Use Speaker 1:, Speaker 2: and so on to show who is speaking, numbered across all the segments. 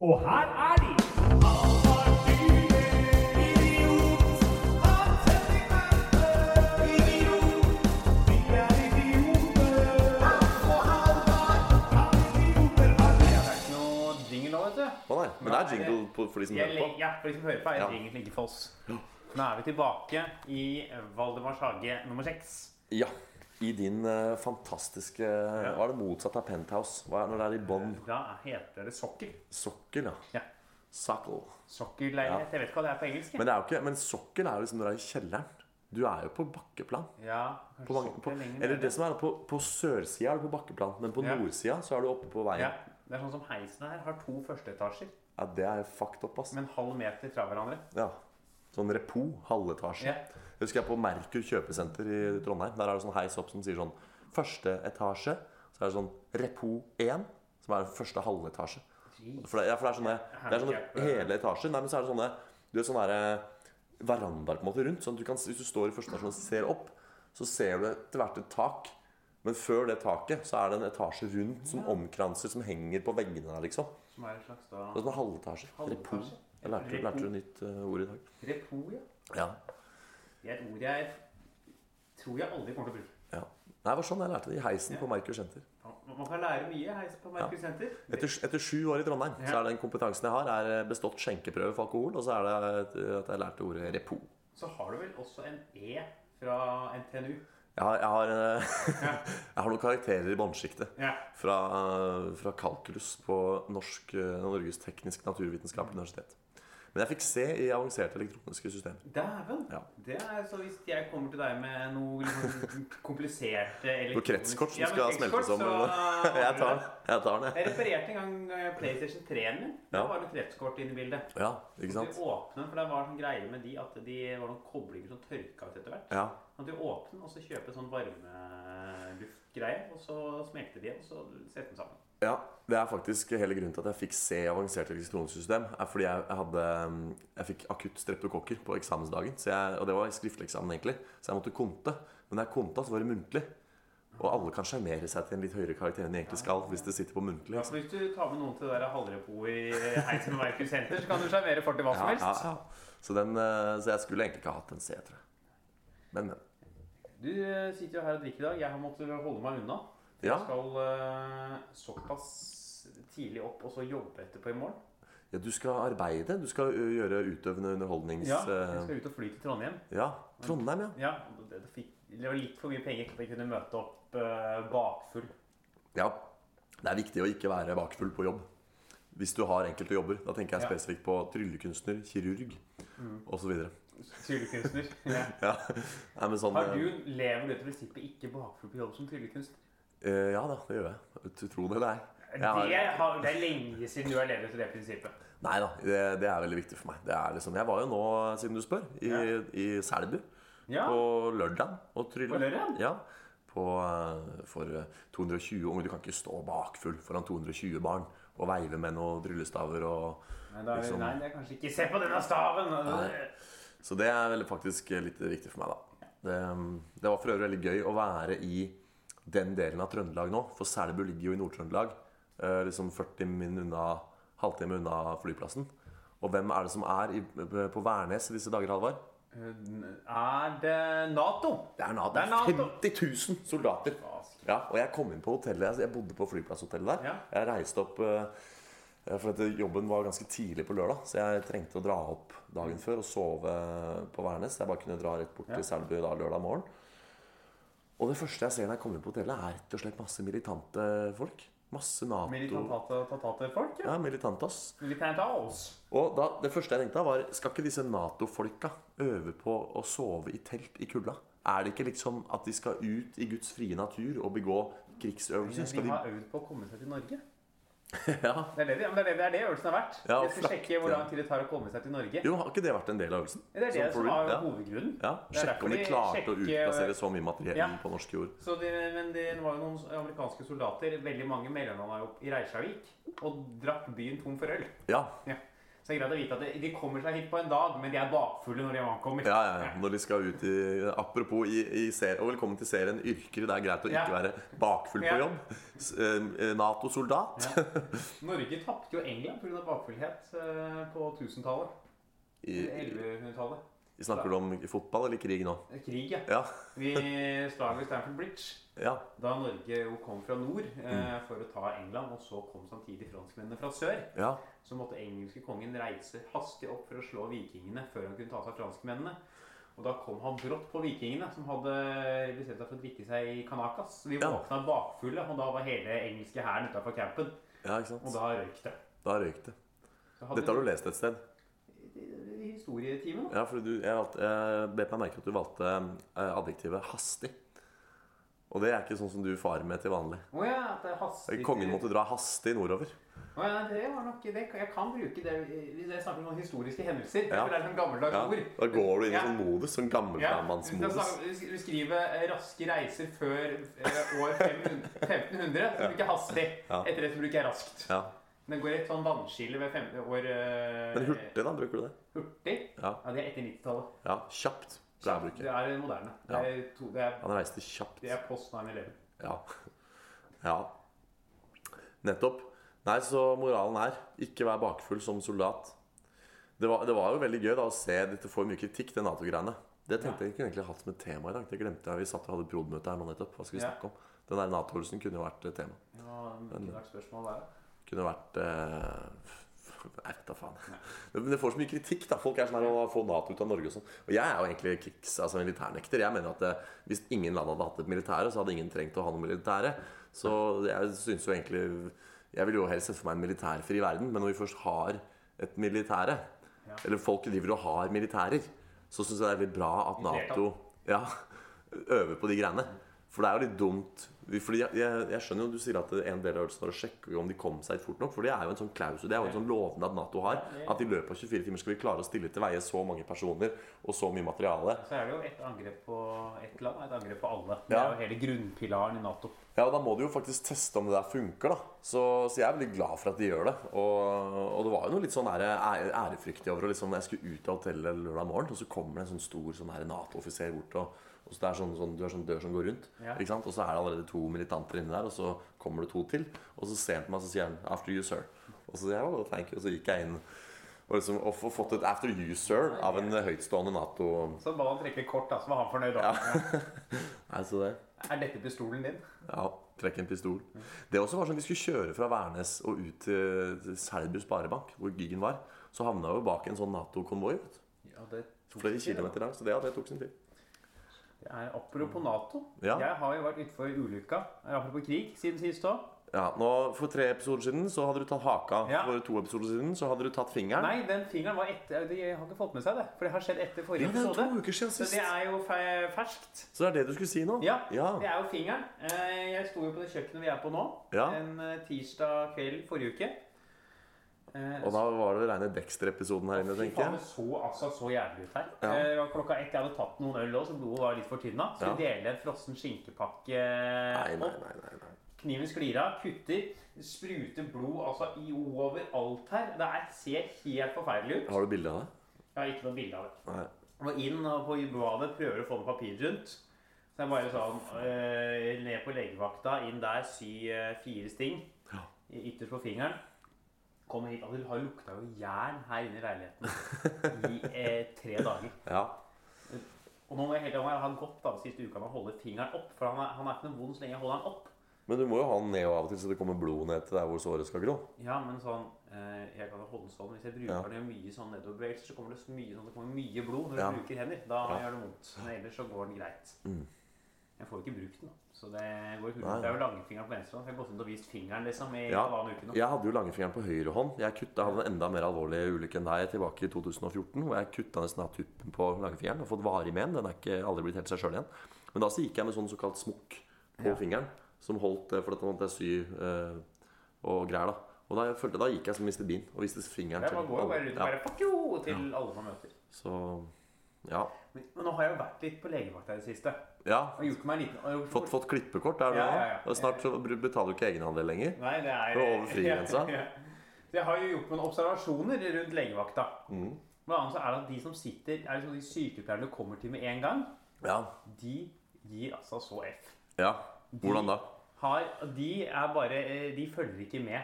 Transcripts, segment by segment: Speaker 1: Og her er de!
Speaker 2: Å nei, men det er jingle på, for de som hører på.
Speaker 3: Ja, for de som hører på, er
Speaker 2: Ja.
Speaker 3: egentlig ikke for oss. Nå er vi tilbake i Valdemars hage nummer seks.
Speaker 2: Ja. I din eh, fantastiske Hva er det motsatte av penthouse? Hva er det når det er i bånn?
Speaker 3: Da heter det sokkel.
Speaker 2: Sokkel, ja.
Speaker 3: Ja.
Speaker 2: Sokkel.
Speaker 3: Sokkelleilighet. Jeg vet ikke hva det er på engelsk. jeg.
Speaker 2: Men, det er jo ikke, men sokkel er jo liksom når det er i kjelleren. Du er jo på bakkeplan.
Speaker 3: Ja,
Speaker 2: På mange, på,
Speaker 3: sokkel lenger
Speaker 2: eller
Speaker 3: nede.
Speaker 2: det som er på, på sørsida er du på bakkeplan, men på
Speaker 3: Ja.
Speaker 2: nordsida så er du oppe på veien.
Speaker 3: ja, Det er sånn som heisen her har to førsteetasjer
Speaker 2: Ja, Det er fucked up, ass.
Speaker 3: med en halv meter fra hverandre.
Speaker 2: Ja. Sånn repo, halvetasje.
Speaker 3: Ja.
Speaker 2: Jeg Husker jeg på Merkur kjøpesenter i Trondheim. Der er det sånn heis opp som sier sånn første etasje. Så er det sånn repo 1, som er første halvetasje. For det, ja, for det er sånne, det er sånne hele etasjer. Nei, men så er det sånne Du vet sånne der, eh, verandaer på en måte rundt. Sånn at du kan, hvis du står i første etasje og ser opp, så ser du etter hvert et tak. Men før det taket så er det en etasje rundt som omkranser, som henger på veggene der, liksom.
Speaker 3: Som er en slags da
Speaker 2: Det er sånn halvetasje. Repo.
Speaker 3: Halvetasje.
Speaker 2: Jeg lærte, lærte du nytt eh, ord i dag.
Speaker 3: Repo, ja.
Speaker 2: Ja.
Speaker 3: Det er et ord jeg tror jeg aldri kommer til å bruke.
Speaker 2: Ja. Nei, det var sånn jeg lærte det i heisen på Merkur senter.
Speaker 3: Man kan lære mye her på Merkur senter.
Speaker 2: Etter, etter sju år i Trondheim så er den kompetansen jeg har, er eh, bestått skjenkeprøve for alkohol, og så er det eh, at jeg lærte ordet repo.
Speaker 3: Så har du vel også en E fra NTNU.
Speaker 2: Jeg har, jeg har, eh, jeg har noen karakterer i båndsjiktet.
Speaker 3: Ja.
Speaker 2: Fra, fra kalkulus på norsk, eh, Norges teknisk naturvitenskapelige universitet. Men jeg fikk C i avanserte elektroniske systemer.
Speaker 3: Dæven!
Speaker 2: Ja.
Speaker 3: Det er så hvis jeg kommer til deg med noe liksom kompliserte
Speaker 2: Noe kretskort som
Speaker 3: Ja, men
Speaker 2: skal
Speaker 3: kretskort,
Speaker 2: smeltes om.
Speaker 3: så-
Speaker 2: Jeg tar den. Jeg tar den, jeg.
Speaker 3: Jeg reparerte en gang eh, PlayStation 3-en min. Da
Speaker 2: Ja.
Speaker 3: var det kretskort inne i bildet.
Speaker 2: Ja,
Speaker 3: Du
Speaker 2: ikke sant?
Speaker 3: åpne den, for det var sånn greie med de at de var noen koblinger som tørka ut etter hvert.
Speaker 2: Ja.
Speaker 3: Sånn at du åpner og så kjøper sånn varmeluftgreie, og så smelter de, og så setter den sammen.
Speaker 2: Ja, det er faktisk hele grunnen til at jeg fikk C i avansert elektronisk system. er fordi jeg, jeg, hadde, mm, jeg fikk akutt streptokokker på eksamensdagen. Så jeg, og det var i skriftlig eksamen, egentlig. Så jeg måtte konte. Men da jeg konta, så var det muntlig. Og alle kan sjarmere seg til en litt høyere karakter enn de egentlig skal. hvis det sitter på muntlig.
Speaker 3: Så hvis du tar med noen til det der halvrepo i heisen og Merkur senter, så kan du sjarmere folk til hva som
Speaker 2: Ja, ja,
Speaker 3: helst.
Speaker 2: ja. Så, den, eh, så jeg skulle egentlig ikke ha hatt en C, tror jeg. Men, men.
Speaker 3: Du eh, sitter jo her og drikker i dag. Jeg har måttet holde meg unna. Jeg
Speaker 2: Ja,
Speaker 3: skal eh, såpass tidlig opp og så jobbe etterpå i morgen.
Speaker 2: ja, du skal arbeide. Du skal ø, gjøre utøvende underholdnings...
Speaker 3: Ja, jeg
Speaker 2: eh,
Speaker 3: skal ut og fly til Trondheim.
Speaker 2: ja. Trondheim, ja.
Speaker 3: Ja, og det, det, fikk, det var litt for mye penger til at jeg kunne møte opp eh, bakfull.
Speaker 2: Ja, det er viktig å ikke være bakfull på jobb. Hvis du har enkelte jobber. Da tenker jeg
Speaker 3: Ja. Mm.
Speaker 2: spesifikt på tryllekunstner, kirurg osv.
Speaker 3: Tryllekunstner. Ja.
Speaker 2: Ja. Nei, men sånn
Speaker 3: Har
Speaker 2: eh,
Speaker 3: du, lever du etter prinsippet ikke bakfull på jobb som tryllekunstner?
Speaker 2: eh, Ja da, det gjør jeg. Du Tro det eller ei. Jeg
Speaker 3: Det,
Speaker 2: har-
Speaker 3: har, det er lenge siden du har levd etter det prinsippet.
Speaker 2: Nei da, det, det er veldig viktig for meg. Det er liksom, jeg var jo nå, siden du spør, i,
Speaker 3: Ja.
Speaker 2: i Selbu
Speaker 3: Ja,
Speaker 2: på lørdag og trylla.
Speaker 3: På lørdag?
Speaker 2: Ja. På, eh, for eh, 220 unger. Du kan ikke stå bakfull foran 220 barn og veive med noen tryllestaver og
Speaker 3: nei, da er vi,
Speaker 2: liksom-
Speaker 3: nei, det er kanskje ikke Se på denne staven!
Speaker 2: Nei. Så det er veldig faktisk eh, litt viktig for meg, da. Det, eh, det var for øvrig veldig gøy å være i den delen av Trøndelag nå. For Selbu ligger jo i Nord-Trøndelag. eh, Liksom 40 min unna, halvtime unna flyplassen. Og hvem er det som er i, eh, på Værnes i disse dager, Halvard?
Speaker 3: Er det Nato?
Speaker 2: Det er Nato.
Speaker 3: Det er NATO.
Speaker 2: 50 000 soldater. Ja, og jeg kom inn på hotellet. altså, Jeg bodde på flyplasshotellet der.
Speaker 3: Ja.
Speaker 2: Jeg reiste opp eh, For dette jobben var ganske tidlig på lørdag, så jeg trengte å dra opp dagen før og sove på Værnes. Jeg bare kunne dra rett bort til Selbu da lørdag morgen. Og det første jeg ser når jeg kommer inn på hotellet, er rett og slett masse militante folk. Masse Nato
Speaker 3: Militantate-folk? Ja.
Speaker 2: Ja, militantas.
Speaker 3: Militantals.
Speaker 2: Og da, det første jeg tenkte da var Skal ikke disse Nato-folka øve på å sove i telt i kulda? Er det ikke liksom at de skal ut i Guds frie natur og begå krigsøvelser?
Speaker 3: De
Speaker 2: Skal de,
Speaker 3: har øvd på å komme seg til Norge.
Speaker 2: ja.
Speaker 3: Det er det, de- ja, men det, er det, det, er det øvelsen har vært.
Speaker 2: Ja,
Speaker 3: de skal
Speaker 2: flakt,
Speaker 3: sjekke hvor
Speaker 2: ja.
Speaker 3: lang tid det tar å komme seg til Norge.
Speaker 2: Jo, har ikke det vært en del av øvelsen?
Speaker 3: Det er det
Speaker 2: Sånn for
Speaker 3: som
Speaker 2: real,
Speaker 3: er
Speaker 2: ja.
Speaker 3: hovedgrunnen.
Speaker 2: Ja,
Speaker 3: Det er
Speaker 2: Sjekke om
Speaker 3: derfor
Speaker 2: de
Speaker 3: de
Speaker 2: klarte å
Speaker 3: sjekker- eh,
Speaker 2: utplassere så mye materiell
Speaker 3: Ja.
Speaker 2: på norsk jord.
Speaker 3: Så det, men det var jo noen amerikanske soldater, veldig mange mellomlanda i Reykjavik, og drakk byen tom for øl.
Speaker 2: Ja,
Speaker 3: Ja. Så det er greit å vite at de- de kommer seg hit på en dag, men de er bakfulle når de ankommer.
Speaker 2: Ja, ja, ja. Når de skal ut i Apropos i, i ser, og velkommen til serien Yrker. Det er greit å ikke
Speaker 3: Ja.
Speaker 2: være bakfull på
Speaker 3: Ja.
Speaker 2: jobb. S- eh, Nato-soldat.
Speaker 3: Ja. Norge tapte jo England pga. bakfullhet eh, på 1000-tallet.
Speaker 2: I-
Speaker 3: 1100-tallet.
Speaker 2: Vi snakker om fotball eller krig nå?
Speaker 3: Eh, Krig, ja.
Speaker 2: Ja.
Speaker 3: Vi slaget ved Stamford Bridge.
Speaker 2: ja.
Speaker 3: Da Norge jo kom fra nord
Speaker 2: Mm.
Speaker 3: eh, for å ta England, og så kom samtidig franskmennene fra sør,
Speaker 2: ja.
Speaker 3: så måtte engelske kongen reise hastig opp for å slå vikingene før han kunne ta seg av franskmennene. Og da kom han brått på vikingene, som hadde bestemt seg for å drikke seg i Kanakas. Så de
Speaker 2: Ja.
Speaker 3: våkna bakfulle, og da var hele engelske hæren utafor campen.
Speaker 2: ja, ikke
Speaker 3: Og
Speaker 2: sant?
Speaker 3: da røyk det.
Speaker 2: Da røyk det.
Speaker 3: Så hadde-
Speaker 2: Dette har du lest et sted.
Speaker 3: I historietimen.
Speaker 2: Ja, for du, jeg, valgte, jeg bet meg merke at du valgte eh, adjektivet hastig. Og det er ikke sånn som du farer med til vanlig.
Speaker 3: Å ja, at det er hastig
Speaker 2: Kongen måtte dra hastig nordover.
Speaker 3: Å ja, det var nok det, Jeg kan bruke det hvis jeg snakker om noen historiske hendelser.
Speaker 2: Ja.
Speaker 3: For det er sånn gammeldags
Speaker 2: Ja,
Speaker 3: ord.
Speaker 2: da går du inn i
Speaker 3: Ja.
Speaker 2: sånn modus, sånn
Speaker 3: du
Speaker 2: gammelmannsmodus.
Speaker 3: skal skrive eh, raske reiser før eh, år 500 1500. Så bruker jeg hastig.
Speaker 2: Ja.
Speaker 3: Etter det så bruker jeg raskt.
Speaker 2: Ja.
Speaker 3: Det går et sånn vannskille ved 15 år eh,
Speaker 2: Men hurtig, da? Bruker du det?
Speaker 3: Hurtig?
Speaker 2: Ja.
Speaker 3: Ja, det er etter 90-tallet.
Speaker 2: ja. Kjapt. Det er bruket.
Speaker 3: Det er moderne.
Speaker 2: Ja.
Speaker 3: Det, er to, det, er,
Speaker 2: Han reiste kjapt.
Speaker 3: det er post 9-11.
Speaker 2: Ja. ja. Nettopp. Nei, så moralen er ikke vær bakfull som soldat. Det var, det var jo veldig gøy da å se Dette får mye kritikk, det Nato-greiene. Det tenkte jeg kunne egentlig hatt som et tema i dag. Det glemte jeg. Vi satt og hadde prod.møte her nå nettopp. Hva skulle vi
Speaker 3: Ja.
Speaker 2: snakke om? Den der Nato-øvelsen kunne jo vært et tema.
Speaker 3: Ja, det er et spørsmål der.
Speaker 2: Kunne vært eh, Nei, vet da faen. Men det får så mye kritikk. da Folk er sånn her å få Nato ut av Norge og sånn. Og jeg er jo egentlig krigs, altså militærnekter. Jeg mener at eh, hvis ingen land hadde hatt et militære, så hadde ingen trengt å ha noe militære. Så jeg synes jo egentlig Jeg vil jo helst sette for meg en militærfri verden, men når vi først har et militære,
Speaker 3: Ja.
Speaker 2: eller folk driver og har militærer, så syns jeg det er veldig bra at
Speaker 3: I
Speaker 2: Nato ja, øver på de greiene. For det er jo litt dumt Vi- Fordi jeg, jeg, jeg skjønner jo du sier at en del av øvelsen var å sjekke om de kom seg hit fort nok. For det er jo en sånn klausul, det er jo en sånn lovnad Nato har. At i løpet av 24 timer skal vi klare å stille til veie så mange personer og så mye materiale.
Speaker 3: Så er det jo et angrep på ett land og et angrep på alle. Det
Speaker 2: Ja.
Speaker 3: er jo hele grunnpilaren i Nato.
Speaker 2: Ja, og Da må du jo faktisk teste om det der funker. da Så, så jeg er veldig glad for at de gjør det. Og, og det var jo noe litt sånn ære- ære- ærefryktig over å liksom, Jeg skulle ut av hotellet lørdag morgen, og så kommer det en sånn stor sånn her Nato-offiser bort. Og, og så det er sånn, sånn, Du er sånn dør som går rundt.
Speaker 3: Ja.
Speaker 2: Ikke sant? Og så er det allerede to militanter inne der, og så kommer det to til. Og så ser han på meg og så sier han 'After you, sir'. Og så sier jeg oh, thank you, og så gikk jeg inn. Og liksom, og få- fått et 'after you, sir' av en høytstående Nato.
Speaker 3: Så ba han trekke kort, da, så var han fornøyd. da.
Speaker 2: Nei, så det
Speaker 3: Er dette pistolen din?
Speaker 2: Ja, trekke en pistol. Det også var sånn Vi skulle kjøre fra Værnes og ut til til Selbu sparebank, hvor gigen var. Så havna vi jo bak en sånn Nato-konvoi. vet du.
Speaker 3: Ja, det
Speaker 2: Flere kilometer lang. Så det, ja, det tok sin tid.
Speaker 3: Det er Apropos Nato.
Speaker 2: Ja.
Speaker 3: Jeg har jo vært utfor ulykka, eller apropos krig, siden sist òg.
Speaker 2: Ja, nå, For tre episoder siden så hadde du tatt haka.
Speaker 3: Ja.
Speaker 2: For to episoder siden så hadde du tatt fingeren.
Speaker 3: Nei, den fingeren var etter De har ikke fått med seg det, for det har skjedd etter
Speaker 2: ja,
Speaker 3: forrige
Speaker 2: det er
Speaker 3: episode.
Speaker 2: to uker siden
Speaker 3: Så
Speaker 2: sist.
Speaker 3: det er jo fe- ferskt.
Speaker 2: Så det er det du skulle si nå?
Speaker 3: Ja,
Speaker 2: Ja.
Speaker 3: det er jo fingeren. Eh, Jeg sto jo på det kjøkkenet vi er på nå,
Speaker 2: Ja.
Speaker 3: en eh, tirsdag kveld forrige uke. Eh,
Speaker 2: Og da var det rene Dexter-episoden her inne,
Speaker 3: Fy
Speaker 2: tenker
Speaker 3: faen, det
Speaker 2: jeg.
Speaker 3: så altså så jævlig ut her.
Speaker 2: Ja.
Speaker 3: Eh, det var klokka ett, jeg hadde tatt noen øl også, så blodet var litt fortynna. Skulle dele en frossen skinkepakke
Speaker 2: Nei, nei,
Speaker 3: opp.
Speaker 2: nei. nei, nei.
Speaker 3: Kniven sklir av, kutter, spruter blod altså i over alt her. Det er, ser helt forferdelig ut.
Speaker 2: Har du bilde av det?
Speaker 3: Jeg har ikke noe bilde av det.
Speaker 2: Nei.
Speaker 3: Og inn og på badet, prøver å få noe papir rundt. Så jeg bare sånn eh, Ned på legevakta, inn der, sy eh, fire sting
Speaker 2: Ja.
Speaker 3: i- ytterst på fingeren. Kommer hit, altså Det har lukta jo jern her inne i leiligheten i eh, tre dager.
Speaker 2: Ja.
Speaker 3: Og nå må jeg hele tiden ha gått da, den siste uka med å holde fingeren opp, for han er, han er ikke noe vond så lenge jeg holder han opp.
Speaker 2: Men du må jo ha den ned og av og til, så det kommer blod ned til der hvor såret skal gro.
Speaker 3: Ja, men sånn eh, Jeg kan jo holde den sånn. Hvis jeg bruker
Speaker 2: Ja.
Speaker 3: den i mye sånn nedoverbevegelser, så kommer det så mye, sånn, det kommer mye blod når
Speaker 2: Ja.
Speaker 3: du bruker hender. Da
Speaker 2: Ja.
Speaker 3: gjør det vondt. Men ellers så går den greit.
Speaker 2: Mm.
Speaker 3: Jeg får jo ikke brukt den, da. Så det går ikke.
Speaker 2: Nei.
Speaker 3: Det er jo langfingeren på venstre hånd. så Jeg har gått rundt og vist fingeren liksom i
Speaker 2: Ja.
Speaker 3: halvannen uke nå.
Speaker 2: Jeg hadde jo langfingeren på høyre hånd. Jeg kutta hadde en enda mer alvorlig ulykke enn deg tilbake i 2014. Hvor jeg kutta nesten av tuppen på langfingeren og fått varig men. Den er ikke aldri blitt helt seg sjøl igjen. Men da så gikk jeg med sånn såkalt smokk på
Speaker 3: Ja.
Speaker 2: fingeren. Som holdt eh, for dette måtte jeg sy eh, og greier, da. Og da, jeg følte, da gikk jeg som Mr. Bean og viste fingeren
Speaker 3: Jeg bare går jo bare rundt og
Speaker 2: alle.
Speaker 3: bare fuck you til alle man møter.
Speaker 2: Ja, så ja.
Speaker 3: Men, men nå har jeg jo vært litt på legevakta i det siste.
Speaker 2: ja.
Speaker 3: Og gjort meg en liten og gjort-
Speaker 2: Fått, fått klippekort er du
Speaker 3: Ja,
Speaker 2: nå.
Speaker 3: ja, ja.
Speaker 2: Og Snart så betaler du ikke egenandel lenger.
Speaker 3: Nei, det er
Speaker 2: Det var over frigrensa.
Speaker 3: Ja. Så jeg har jo gjort noen observasjoner rundt legevakta.
Speaker 2: Mm.
Speaker 3: Blant annet så er det at de som sitter, er liksom de sykepleierne du kommer til med en gang,
Speaker 2: Ja.
Speaker 3: de gir altså så F.
Speaker 2: ja. Hvordan da?
Speaker 3: Har, de er bare eh, De følger ikke med.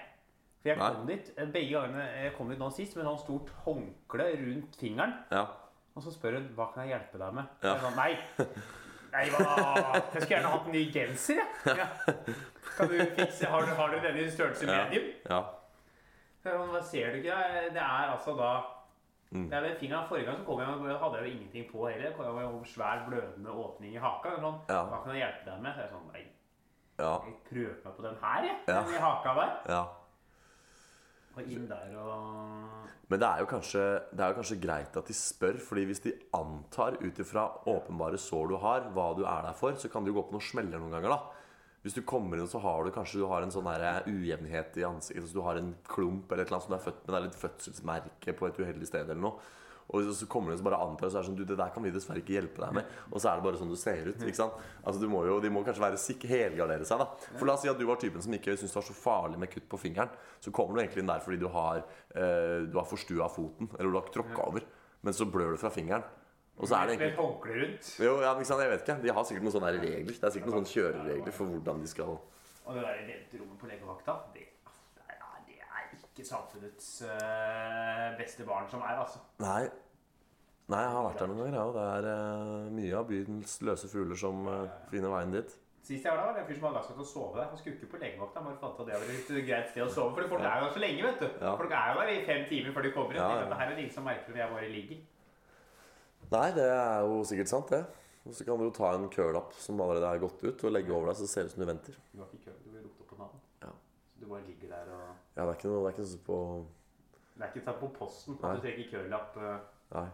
Speaker 3: For jeg
Speaker 2: Nei.
Speaker 3: kom dit eh, begge gangene jeg kom dit nå sist med sånn stort håndkle rundt fingeren.
Speaker 2: Ja.
Speaker 3: Og så spør hun hva kan jeg hjelpe deg med.
Speaker 2: Ja.
Speaker 3: Jeg sa, nei, nei hva? jeg skulle gjerne hatt en ny genser. jeg. Ja. Kan du fikse, har, du, har du denne i størrelse
Speaker 2: Ja.
Speaker 3: medium?
Speaker 2: ja.
Speaker 3: Så jeg sa, Hva ser du ikke? Det er altså da
Speaker 2: Mm.
Speaker 3: det er den fingeren, Forrige gang så kom jeg, med- hadde jeg jo ingenting på heller. Jeg kom jeg med en svær blødende åpning i haka. og Sånn,
Speaker 2: Ja.
Speaker 3: Hva kan jeg hjelpe deg med? Så jeg sånn, nei,
Speaker 2: Ja.
Speaker 3: jeg prøver meg på den her, jeg.
Speaker 2: Ja.
Speaker 3: Den i haka der.
Speaker 2: ja.
Speaker 3: Og inn der og
Speaker 2: Men det er, jo kanskje, det er jo kanskje greit at de spør, fordi hvis de antar ut ifra åpenbare sår du har, hva du er der for, så kan det jo gå på noen smeller noen ganger, da. Hvis du kommer inn, så har du kanskje du har en sånn der ujevnhet i ansiktet. Så du har en klump eller et eller annet som du er født med. Det er litt fødselsmerke på et uheldig sted eller noe. Og så kommer du inn og så bare antar så er det sånn, du, det der kan vi dessverre ikke hjelpe deg med. Og så er det bare sånn du ser ut. ikke sant? Altså, du må jo, De må kanskje være sikre, helgardere seg. da. For La oss si at du var typen som ikke syntes det var så farlig med kutt på fingeren. Så kommer du egentlig inn der fordi du har, eh, du har forstua foten, eller du har tråkka over. Men så blør du fra fingeren. Og så er det
Speaker 3: Med et
Speaker 2: egentlig
Speaker 3: håndkle rundt.
Speaker 2: jo, ja, men ikke sant, jeg vet ikke. De har sikkert noen sånne der regler. Det er sikkert noen sånne kjøreregler for hvordan de skal
Speaker 3: Og det der venterommet på legevakta, det, altså, det, er, det er ikke samfunnets øh, beste barn som er, altså.
Speaker 2: Nei. Nei, jeg har vært der noen ganger, jeg. Og det er eh, mye av byens løse fugler som eh, finner veien dit.
Speaker 3: Sist jeg var der, var det en fyr som hadde lagt seg til å sove der. Han skulle ikke på legevakta, han bare fant ut at det var et greit sted å sove. For folk er jo der så lenge, vet du.
Speaker 2: Ja.
Speaker 3: Folk er jo der i fem timer før de kommer inn.
Speaker 2: Ja,
Speaker 3: Tenk at
Speaker 2: ja.
Speaker 3: Det her er det ingen som merker hvor jeg bare ligger.
Speaker 2: Nei, det er jo sikkert sant, det. Og så kan du jo ta en curl-up som allerede er gått ut, og legge over deg, så det ser det ut som du venter.
Speaker 3: Du har ikke kø, du blir lukta på navn.
Speaker 2: Ja.
Speaker 3: Så du bare ligger der og
Speaker 2: Ja, det er ikke noe, det er ikke noe sånn på
Speaker 3: Det er ikke tatt på posten
Speaker 2: Nei.
Speaker 3: at du trenger kølapp. øh.
Speaker 2: Nei.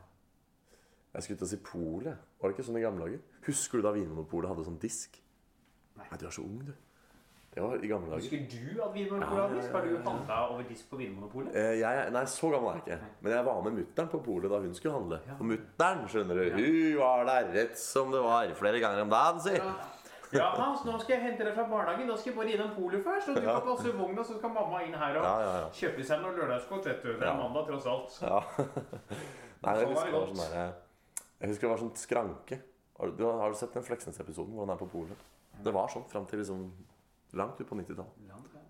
Speaker 2: Jeg skulle til å si Polet. Var det ikke sånn i gamle dager? Husker du da Vinmonopolet hadde sånn disk?
Speaker 3: Nei.
Speaker 2: Nei, du er så ung, du. Det var i gamle dager.
Speaker 3: Husker du at
Speaker 2: Ja,
Speaker 3: Vinmonopolet
Speaker 2: ja,
Speaker 3: hadde
Speaker 2: ja,
Speaker 3: disk? Har
Speaker 2: ja,
Speaker 3: du
Speaker 2: ja.
Speaker 3: handla over disk på Vinmonopolet?
Speaker 2: Eh, Jeg, nei, så gammel er jeg ikke. Men jeg var med mutter'n på polet da hun skulle handle.
Speaker 3: Ja.
Speaker 2: Og mutter'n, skjønner du, hun var der rett som det var flere ganger om dagen, si.
Speaker 3: Ja, Hans, nå skal jeg hente deg fra barnehagen. Da skal jeg bare innom polet først. Og du kan passe vogna, så skal mamma inn her og
Speaker 2: Ja, ja, ja.
Speaker 3: kjøpe seg noe lørdagsgodt. vet du. Det er
Speaker 2: Ja.
Speaker 3: mandag, tross alt.
Speaker 2: ja. Nei, jeg
Speaker 3: Sånn var det
Speaker 2: husker det var
Speaker 3: godt.
Speaker 2: sånn der, Jeg husker det var sånn skranke. Har du, har du sett den Fleksnes-episoden hvor han er på polet? Det var sånn fram til liksom langt ut på 90-tallet.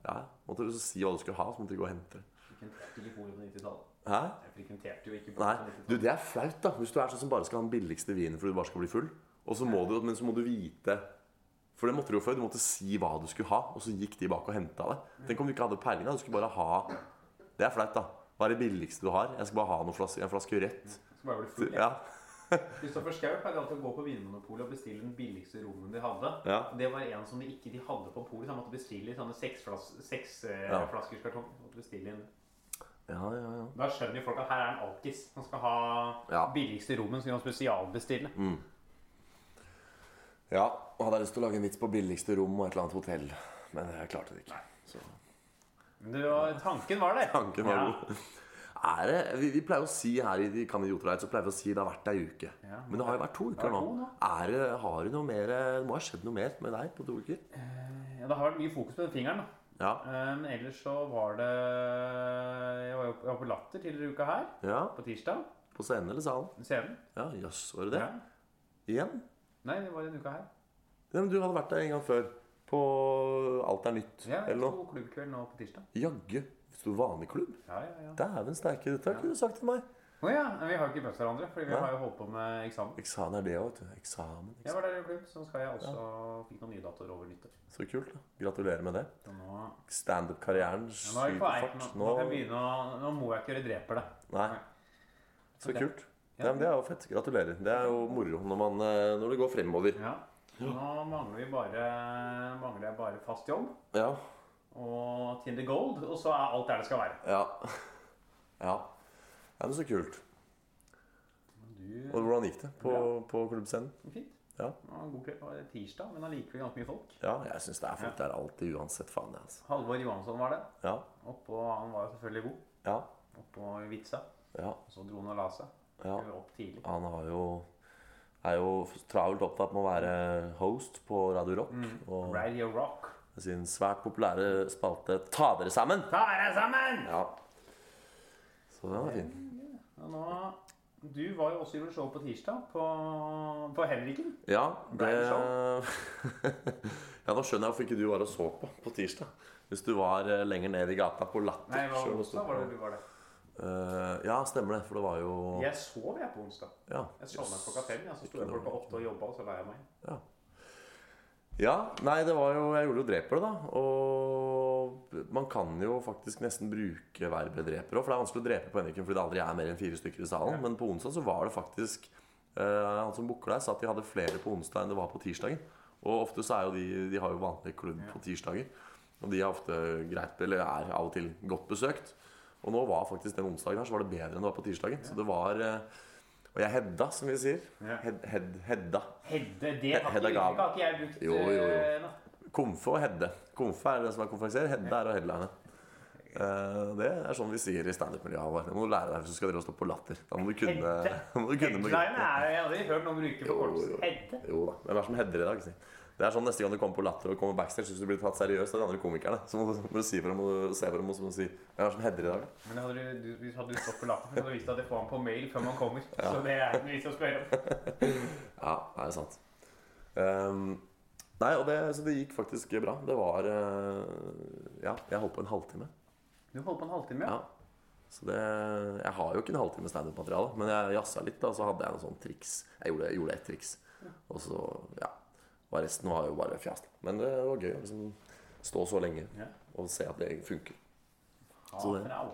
Speaker 2: Ja, måtte du så si hva du skulle ha, så måtte du gå og hente det.
Speaker 3: Frekventerte ikke polet på 90-tallet.
Speaker 2: Hæ?
Speaker 3: Jeg frekventerte jo ikke sånn.
Speaker 2: Nei,
Speaker 3: polet på
Speaker 2: du,
Speaker 3: 90-tallet.
Speaker 2: det er flaut, da. Hvis du er sånn som bare skal ha den billigste vinen fordi du bare skal bli full. Og så må du, men så må du vite For det måtte du jo før. Du måtte si hva du skulle ha, og så gikk de bak og henta det. Tenk om du ikke hadde peiling. da, Du skulle bare ha Det er flaut, da. Hva er det billigste du har? Jeg skal bare ha noen flaske, en flaske rødt.
Speaker 3: Skal bare bli full. jeg.
Speaker 2: Ja,
Speaker 3: Kristoffer Schau pleide alltid å gå på Vinmonopolet og bestille den billigste rommen de hadde.
Speaker 2: ja,
Speaker 3: Det var en som de ikke de hadde på polet, så han måtte bestille i sånne seksflaskerskartong. Seks, eh,
Speaker 2: Ja.
Speaker 3: flaskerskartong. Måtte bestille inn.
Speaker 2: ja. ja, ja.
Speaker 3: Da skjønner jo folk at her er en alkis. Han skal ha
Speaker 2: Ja. Mm.
Speaker 3: billigste rommen, så kan han spesialbestille.
Speaker 2: ja. og Hadde jeg lyst til å lage en vits på billigste rom og et eller annet hotell. Men jeg klarte det ikke. Så.
Speaker 3: Men det var, tanken var der.
Speaker 2: Tanken var
Speaker 3: Ja.
Speaker 2: god. Er det, vi, vi pleier å si her i de Kan Idiotreit, så pleier vi å si det har vært ei uke.
Speaker 3: Ja.
Speaker 2: Men det har jo vært to uker
Speaker 3: er
Speaker 2: nå.
Speaker 3: to nå.
Speaker 2: Er det, har det noe mer eh, Det må ha skjedd noe mer med deg på to uker?
Speaker 3: Ja, det har vært mye fokus på den fingeren, da.
Speaker 2: Ja.
Speaker 3: Eh, Men ellers så var det Jeg var jo jeg var på Latter tidligere i uka her,
Speaker 2: ja.
Speaker 3: på tirsdag.
Speaker 2: På scenen eller salen?
Speaker 3: Scenen.
Speaker 2: Ja, jøss, var det det?
Speaker 3: Ja.
Speaker 2: Igjen?
Speaker 3: Nei, det var en uke her.
Speaker 2: Ja, men du hadde vært der en gang før. På Alt er nytt
Speaker 3: Ja,
Speaker 2: eller noe.
Speaker 3: to klubbkveld nå på tirsdag.
Speaker 2: Jaggu. Sto vaneklubb.
Speaker 3: Ja, ja, ja.
Speaker 2: Dæven steike, dette har ikke du sagt til meg.
Speaker 3: Å ja, men vi har jo ikke møtt hverandre, fordi vi
Speaker 2: Nei.
Speaker 3: har jo holdt på med eksamen.
Speaker 2: Eksamen er det òg, vet du. Eksamen.
Speaker 3: Jeg var der i en klubb, så skal jeg også fikk noen nye datoer over nyttår.
Speaker 2: Så kult. da. Gratulerer med det.
Speaker 3: Så nå, ja,
Speaker 2: Standup-karrieren
Speaker 3: nå er vi
Speaker 2: skyter
Speaker 3: på vei. Nå,
Speaker 2: fart.
Speaker 3: nå, kan jeg begynne å, nå må jeg ikke gjøre dreper deg.
Speaker 2: Nei. Så
Speaker 3: Ok.
Speaker 2: kult.
Speaker 3: Ja.
Speaker 2: Ja, men Det er jo fett. Gratulerer. Det er jo moro når, man, eh, når det går fremover.
Speaker 3: Ja. Nå mangler, vi bare, mangler jeg bare fast jobb
Speaker 2: Ja.
Speaker 3: og Tinder Gold, og så er alt der det skal være.
Speaker 2: Ja. ja. Ja, men Så kult.
Speaker 3: Men du...
Speaker 2: Og Hvordan gikk det på,
Speaker 3: Bra.
Speaker 2: på klubbscenen?
Speaker 3: Fint.
Speaker 2: Ja.
Speaker 3: Det var en god kveld. Det var tirsdag, men allikevel ganske mye folk.
Speaker 2: Ja, jeg syns det er folk der alltid, uansett faen. jeg, Altså.
Speaker 3: Halvor Johansson var der.
Speaker 2: Ja.
Speaker 3: Oppå, han var jo selvfølgelig god.
Speaker 2: Ja.
Speaker 3: Oppå Vitsa.
Speaker 2: ja.
Speaker 3: Og så dro han og la seg.
Speaker 2: Ja.
Speaker 3: Skulle Opp tidlig.
Speaker 2: Han har jo er jo travelt opptatt med å være host på Radio Rock.
Speaker 3: Mm.
Speaker 2: Og
Speaker 3: Radio Rock.
Speaker 2: sin svært populære spalte Ta dere sammen!
Speaker 3: Ta deg sammen!
Speaker 2: Ja. Så den var fin.
Speaker 3: Og nå, du var jo også i show på tirsdag, på, på Henriken.
Speaker 2: Ja, det
Speaker 3: Ble det
Speaker 2: Ja, nå skjønner jeg hvorfor ikke du var og så på på tirsdag. Hvis du var eh, lenger ned i gata på Latter.
Speaker 3: Nei, det var
Speaker 2: så du
Speaker 3: onsdag
Speaker 2: stod
Speaker 3: var det
Speaker 2: på-
Speaker 3: du var der.
Speaker 2: Eh, ja, stemmer det. For det var jo
Speaker 3: Jeg sov jeg på onsdag.
Speaker 2: Ja.
Speaker 3: Jeg sovna klokka fem, ja, så sto jeg klokka åtte og jobba, og så la jeg meg.
Speaker 2: Ja, nei, det var jo Jeg gjorde jo dreper, da. Og man kan jo faktisk nesten bruke verbet dreper òg. For det er vanskelig å drepe på Henriken fordi det aldri er mer enn fire stykker i salen. Men på onsdag så var det faktisk eh, Han som booker deg, sa at de hadde flere på onsdag enn det var på tirsdagen. Og ofte så er jo de De har jo vanlig klubb på tirsdager. Og de er ofte greit Eller er av og til godt besøkt. Og nå var faktisk den onsdagen her Så var det bedre enn det var på tirsdagen. Så det var eh, Og jeg hedda, som vi sier.
Speaker 3: Ja.
Speaker 2: Hed, hed, hedda.
Speaker 3: Hedde, det har
Speaker 2: Hedda
Speaker 3: ikke,
Speaker 2: Gaven.
Speaker 3: har ikke jeg brukt.
Speaker 2: Jo, jo, jo.
Speaker 3: eh, nå.
Speaker 2: Komfe og Hedde. Komfe er det som er konferansier. Hedde er å headline. Eh, det er sånn vi sier i standup-miljøet vårt. Det må du lære deg hvis du skal drive og stå på latter. Da må du kunne,
Speaker 3: Hedde.
Speaker 2: da må du kunne med-
Speaker 3: Headline er jeg har aldri hørt noen bruke på
Speaker 2: Jo, jo,
Speaker 3: korps.
Speaker 2: jo.
Speaker 3: Hedde.
Speaker 2: Jo da. Hvem er det som header i dag? Si? Det er sånn Neste gang du kommer på latter og kommer backstage, hvis du blir tatt seriøst av de andre komikerne, så må du, må du si for dem og se for dem og så må du si Hvem er det som header i dag?
Speaker 3: Men hadde du, du, hvis hadde du stått på lappen, hadde du visst at jeg får han på mail før man kommer. Så det er ikke noe vits å spørre om.
Speaker 2: Ja, det er sant. Ehm, nei, og det, så det gikk faktisk bra. Det var eh, Ja, jeg holdt på en halvtime.
Speaker 3: Du holdt på en halvtime, ja.
Speaker 2: Ja. Så det, jeg har jo ikke en halvtime standup-materiale, men jeg jazza litt. da, Så hadde jeg noen sånne triks. Jeg gjorde, jeg gjorde ett triks. Og så, ja. Og resten var jo bare fjas. Men det var gøy å liksom stå så lenge
Speaker 3: Ja.
Speaker 2: og se at det funker.
Speaker 3: Ja,
Speaker 2: så det-
Speaker 3: for au.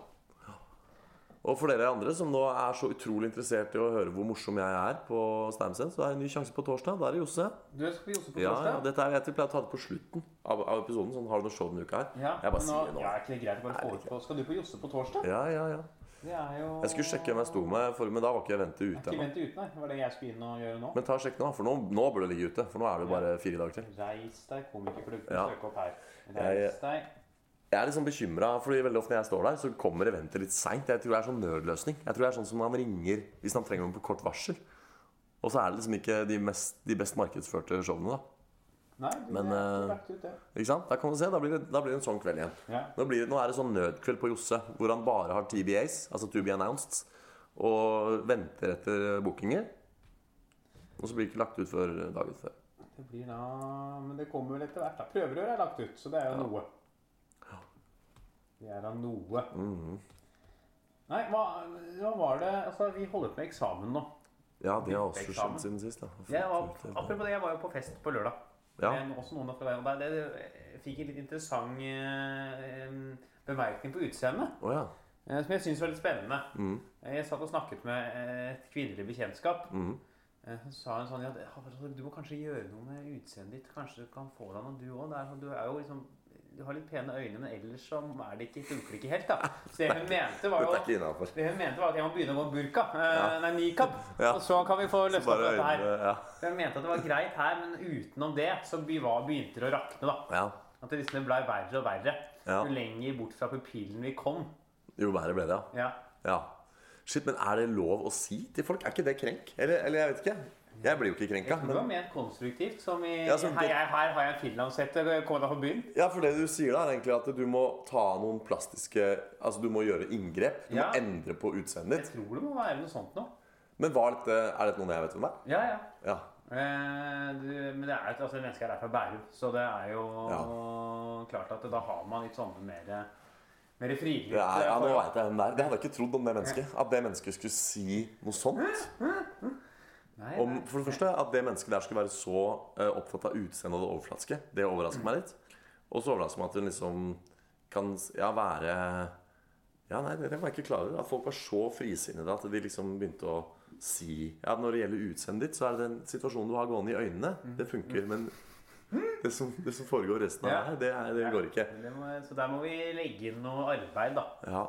Speaker 2: Og for dere andre som nå er så utrolig interessert i å høre hvor morsom jeg er på standup-scenen, så er det en ny sjanse på torsdag. Da er det Josse.
Speaker 3: Du skal vi også på
Speaker 2: Ja, ja,
Speaker 3: torsdag?
Speaker 2: dette er, jeg pleier å ta det på slutten av, av episoden. Sånn, har du noe show denne uka her? jeg bare
Speaker 3: men
Speaker 2: sier det nå.
Speaker 3: Ja, er ikke det greit å bare
Speaker 2: Er
Speaker 3: få
Speaker 2: det
Speaker 3: ut på Skal du på Josse på torsdag?
Speaker 2: Ja, ja, ja.
Speaker 3: Det er jo
Speaker 2: Jeg skulle sjekke hvem jeg sto med, for, men da var ikke jeg ventet ute
Speaker 3: Ikke
Speaker 2: ennå.
Speaker 3: vent uten, nei. Det var det jeg skulle inn og gjøre nå.
Speaker 2: Men ta og sjekk nå, for nå, nå bør det ligge ute. For nå er det jo bare fire dager til.
Speaker 3: Reis deg, komikerklubben.
Speaker 2: Ja.
Speaker 3: Søk opp her.
Speaker 2: Jeg-
Speaker 3: Reis deg.
Speaker 2: Jeg er liksom bekymra, fordi veldig ofte når jeg står der, så kommer eventet litt seint. Jeg tror det er sånn nødløsning. Jeg tror det er sånn som man ringer hvis man trenger noen på kort varsel. Og så er det liksom ikke de, mest, de best markedsførte showene, da.
Speaker 3: Nei, du,
Speaker 2: Men,
Speaker 3: det er
Speaker 2: eh,
Speaker 3: ikke lagt ut, det.
Speaker 2: Ikke sant? Da kan du se, da blir det, da blir det en sånn kveld igjen.
Speaker 3: Ja.
Speaker 2: Nå, blir det, nå er det sånn nødkveld på Josse, hvor han bare har TBAs, altså To Be Announced, og venter etter bookinger. Og så blir det ikke lagt ut før dagen før.
Speaker 3: Det blir da Men det kommer vel etter hvert. da. Prøverør er lagt ut, så det er jo noe. Det er da noe.
Speaker 2: Mhm.
Speaker 3: Nei, hva, hva var det Altså, vi holder på med eksamen nå.
Speaker 2: Ja, det har også
Speaker 3: Eksamen.
Speaker 2: skjedd siden sist, da.
Speaker 3: Jeg var, apropos det, jeg var jo på fest på lørdag.
Speaker 2: Ja.
Speaker 3: Med også noen fra deg. og der. Det- Jeg fikk en litt interessant eh, em, bemerkning på utseendet.
Speaker 2: Å ja.
Speaker 3: eh, Som jeg syns var litt spennende.
Speaker 2: Mhm.
Speaker 3: Jeg satt og snakket med eh, et kvinnelig bekjentskap.
Speaker 2: Mhm.
Speaker 3: Eh, Så sa hun sånn ja, det- altså, Du må kanskje gjøre noe med utseendet ditt. Kanskje du kan få deg noe, du òg. Sånn, du er jo liksom Du har litt pene øyne, men ellers så er det ikke, funker det ikke helt, da. Så det hun mente, var
Speaker 2: Dette er
Speaker 3: jo
Speaker 2: ikke innafor.
Speaker 3: det hun mente var at jeg må begynne å gå med burka. eh,
Speaker 2: Ja.
Speaker 3: Nei, nikab.
Speaker 2: Ja.
Speaker 3: Og så kan vi få løsnet opp
Speaker 2: Bare
Speaker 3: dette her.
Speaker 2: øynene Ja.
Speaker 3: Hun mente at det var greit her, men utenom det så be- var- begynte det å rakne, da.
Speaker 2: ja.
Speaker 3: At det liksom ble verre og verre.
Speaker 2: Ja.
Speaker 3: Jo lenger bort fra pupillen vi kom.
Speaker 2: Jo verre ble det, ja.
Speaker 3: Ja.
Speaker 2: Ja. Shit, men er det lov å si til folk? Er ikke det krenk? Eller, eller jeg vet ikke. Jeg blir jo ikke krenka.
Speaker 3: Jeg tror det
Speaker 2: Men
Speaker 3: var ment konstruktivt. Som i
Speaker 2: Ja, som
Speaker 3: her,
Speaker 2: det-
Speaker 3: jeg, her har jeg en finlandshette, kom deg på byen.
Speaker 2: ja, for det du sier da, er egentlig at du må ta noen plastiske Altså du må gjøre inngrep. Du
Speaker 3: Ja.
Speaker 2: må endre på utseendet
Speaker 3: Jeg
Speaker 2: ditt.
Speaker 3: tror det må være noe sånt nå.
Speaker 2: Men var dette, er dette noen jeg vet hvem er?
Speaker 3: Ja, ja.
Speaker 2: Ja.
Speaker 3: Eh, du, men det er jo altså, mennesker er fra Bærum, så det er jo klart at da har man litt sånne mer, mer frigitt
Speaker 2: Det
Speaker 3: eh,
Speaker 2: er, ja, nå
Speaker 3: forhold.
Speaker 2: vet jeg hvem det er. Det hadde jeg ikke trodd om det mennesket. At det mennesket skulle si noe sånt.
Speaker 3: Nei,
Speaker 2: Om,
Speaker 3: nei.
Speaker 2: for det første, at det mennesket der skulle være så eh, opptatt av utseendet og det overflatiske, det overrasker meg litt. Og så overrasker meg at hun liksom kan ja, være Ja, nei, det det var jeg ikke klar over. At folk var så frisinnede at de liksom begynte å si Ja, når det gjelder utseendet ditt, så er det den situasjonen du har gående i øynene. Det funker, men det som, det som foregår resten av det
Speaker 3: Ja.
Speaker 2: her, det, er- det går ikke.
Speaker 3: Det må, så der må vi legge inn noe arbeid, da.
Speaker 2: Ja.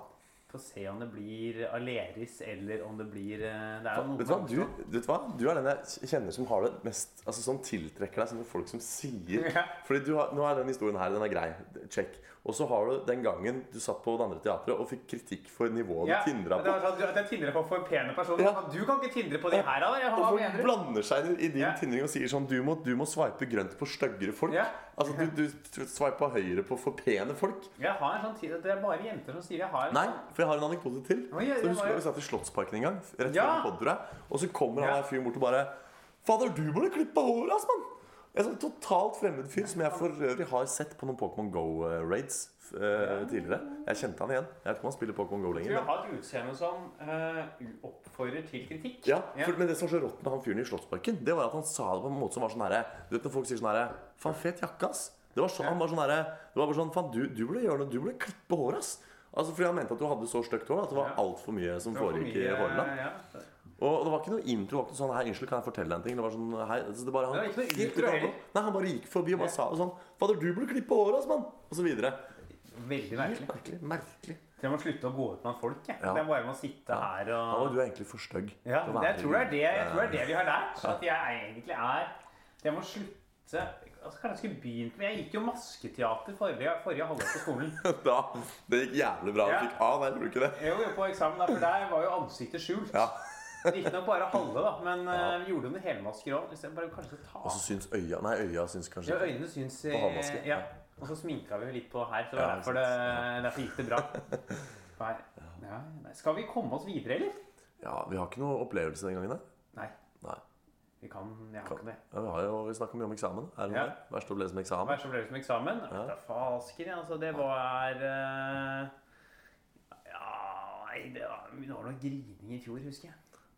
Speaker 3: Få se om det blir Aleris, eller om det blir eh, Det er jo noe
Speaker 2: Vet du hva?
Speaker 3: som-
Speaker 2: Du, vet du hva? Du er den jeg kjenner som har det mest Altså som tiltrekker deg sånne folk som sier
Speaker 3: Ja.
Speaker 2: Fordi du har, nå er den historien her, den er grei. Check. Og så har du den gangen du satt på det andre teatret og fikk kritikk for nivået
Speaker 3: ja,
Speaker 2: du tindra
Speaker 3: Det
Speaker 2: på.
Speaker 3: er sånn, at jeg tindrer på for pene personer.
Speaker 2: Ja.
Speaker 3: Du kan ikke tindre på de her, da. Jeg
Speaker 2: Og
Speaker 3: har
Speaker 2: folk blander seg inn i din
Speaker 3: Ja.
Speaker 2: tindring og sier sånn Du må, du må sveipe grønt på styggere folk.
Speaker 3: Ja.
Speaker 2: Altså, du, du sveipa høyre på for pene folk.
Speaker 3: Jeg har en sånn tid at det er bare jenter som sier jeg har en
Speaker 2: Nei, for jeg har en anekdote til.
Speaker 3: Oi, ja,
Speaker 2: så
Speaker 3: det
Speaker 2: husker
Speaker 3: var
Speaker 2: du
Speaker 3: jo-
Speaker 2: Vi satt i Slottsparken en gang, rett før
Speaker 3: Ja.
Speaker 2: vi podder deg, og så kommer han
Speaker 3: Ja.
Speaker 2: der fyren bort og bare 'Fader, du burde klippe håret, ass, mann!' En sånn totalt fremmed fyr som jeg for øvrig har sett på noen Pokémon Go-raids eh, tidligere. Jeg kjente han igjen. Jeg vet ikke om han spiller Pokémon Go
Speaker 3: Jeg tror
Speaker 2: lenger.
Speaker 3: jeg har et utseende som eh, oppfordrer til kritikk.
Speaker 2: Ja, for, men det som var så rått med han fyren i Slottsparken, det var at han sa det på en måte som var sånn herre Du vet når folk sier sånn herre Faen, fet jakke, ass. Det var sånn, Han var sånn herre Det var bare sånn Faen, du, du burde gjøre noe. Du burde klippe håret, ass. Altså, Fordi han mente at du hadde så stygt hår at det var
Speaker 3: Ja.
Speaker 2: altfor mye som
Speaker 3: Det var for
Speaker 2: foregikk i
Speaker 3: mye-
Speaker 2: hårene.
Speaker 3: ja.
Speaker 2: Og det var ikke noe intro. Det var ikke noe sånn, hei, unnskyld, kan jeg fortelle deg en ting? Det var sånn, hei, altså, det bare, han,
Speaker 3: Det var ikke noe
Speaker 2: helt
Speaker 3: intro
Speaker 2: ut av det
Speaker 3: heller.
Speaker 2: blå. Nei, han bare gikk forbi og bare sa det sånn Fader, du burde klippe håret, ass, mann! Og så videre.
Speaker 3: Veldig merkelig.
Speaker 2: Merkelig. merkelig.
Speaker 3: Jeg må slutte å gå ut blant folk. Jeg.
Speaker 2: Ja.
Speaker 3: Det er bare med å sitte her
Speaker 2: Ja, men
Speaker 3: og
Speaker 2: du er egentlig for stygg.
Speaker 3: ja, det,
Speaker 2: til å være eh,
Speaker 3: jeg, tror det er det, jeg
Speaker 2: i-
Speaker 3: tror det er det vi har lært. At jeg egentlig er Jeg må slutte altså, Kanskje jeg skulle begynt med Jeg gikk jo masketeater forrige, forrige halvår på skolen.
Speaker 2: da, Det gikk jævlig bra. Du
Speaker 3: Ja.
Speaker 2: fikk A der, gjorde du ikke det?
Speaker 3: Jeg var jo på eksamen der, for der var jo ansiktet skjult.
Speaker 2: Ja.
Speaker 3: Riktignok bare halve, da, men eh, vi gjorde det med helmasker òg. Hvis jeg bare kanskje tar
Speaker 2: Og så syns øya Nei, øya syns kanskje
Speaker 3: Ja,
Speaker 2: ikke.
Speaker 3: øynene syns eh,
Speaker 2: På halvmaske.
Speaker 3: Ja. Og så sminka vi jo litt på her, så det
Speaker 2: Ja,
Speaker 3: var derfor,
Speaker 2: ikke
Speaker 3: det, derfor gikk det bra. Nei. Ja, nei. Skal vi komme oss videre, eller?
Speaker 2: Ja, Vi har ikke noe opplevelse den gangen. da.
Speaker 3: Nei.
Speaker 2: Nei.
Speaker 3: Vi kan Jeg har
Speaker 2: Kan-
Speaker 3: ikke det.
Speaker 2: Ja, vi har jo vi snakker mye om eksamen. Er det noe
Speaker 3: Ja.
Speaker 2: der? Verste opplevelse
Speaker 3: Hva
Speaker 2: med eksamen?
Speaker 3: er det som ble det som eksamen? Ja. Det er fasken, ja. Altså, det var eh, Ja Nei, det var, det var noe grining i fjor, husker jeg.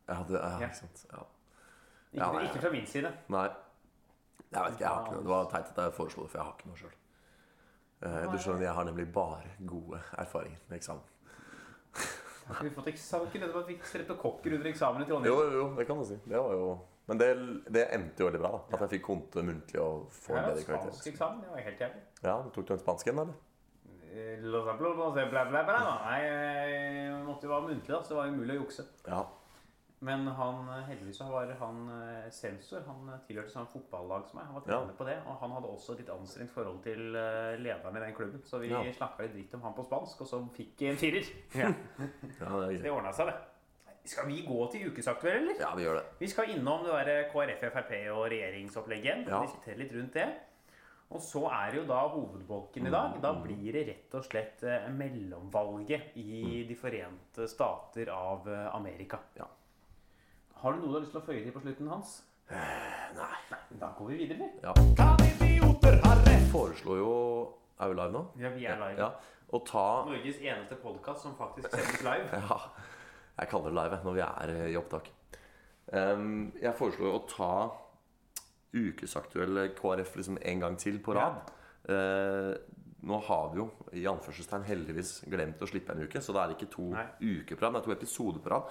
Speaker 2: Ja, det er
Speaker 3: Ja.
Speaker 2: ikke sant. Ja.
Speaker 3: Ikke,
Speaker 2: Ja, nei,
Speaker 3: ikke fra min side.
Speaker 2: Nei. Jeg vet ikke, jeg har ikke noe. Det var teit at jeg foreslo det, for jeg har ikke noe sjøl. Du skjønner, jeg har nemlig bare gode erfaringer med eksamen.
Speaker 3: Har ikke vi fått eksamen? Ikke det at vi fikk streptokokker under eksamen i Trondheim?
Speaker 2: Jo, jo, jo, det kan du si. Det var jo Men det, det endte jo veldig bra, da. At jeg fikk konte muntlig og får
Speaker 3: Ja,
Speaker 2: en bedre
Speaker 3: spansk
Speaker 2: karakter.
Speaker 3: eksamen. Det var helt jævlig.
Speaker 2: Ja, du Tok du en spansk en, eller?
Speaker 3: Eh, Los Ablodos, eh, bla, bla, bla. da. Nei, eh, jeg måtte jo være muntlig, da, så det var umulig å jukse.
Speaker 2: Ja.
Speaker 3: Men han, eh, heldigvis så var han eh, sensor. Han eh, tilhørte samme fotballag som meg. Han var
Speaker 2: Ja.
Speaker 3: trener på det, og han hadde også et litt anstrengt forhold til eh, lederen i den klubben. Så vi
Speaker 2: Ja.
Speaker 3: snakket snakka litt dritt om han på spansk, og så fikk jeg en firer.
Speaker 2: Ja, det er
Speaker 3: Det
Speaker 2: gøy.
Speaker 3: ordna seg, det. Skal vi gå til ukesaktuell, eller?
Speaker 2: Ja, vi gjør det.
Speaker 3: Vi skal innom det der KrF, Frp og regjeringsopplegget.
Speaker 2: Ja.
Speaker 3: Ja. Diskutere litt rundt det. Og så er det jo da hovedbolken i dag.
Speaker 2: Mm.
Speaker 3: Da blir det rett og slett eh, mellomvalget i
Speaker 2: Mm.
Speaker 3: De forente stater av eh, Amerika.
Speaker 2: Ja.
Speaker 3: Har du noe du har lyst til å føye til på slutten, Hans?
Speaker 2: Eh,
Speaker 3: Nei. Da går vi videre, eller?
Speaker 2: Ja. Jeg foreslo jo Er vi live nå?
Speaker 3: Ja, vi er live.
Speaker 2: Ja. Å ta
Speaker 3: Norges eneste podkast som faktisk sendes live.
Speaker 2: Ja, jeg kaller det live jeg, når vi er eh, i opptak. Ehm, jeg foreslo jo å ta ukesaktuelle KrF liksom en gang til på rad. Eh, nå har vi jo i anførselstegn heldigvis glemt å slippe en uke, så det er ikke to
Speaker 3: Nei.
Speaker 2: uker på rad, det er to episoder på rad.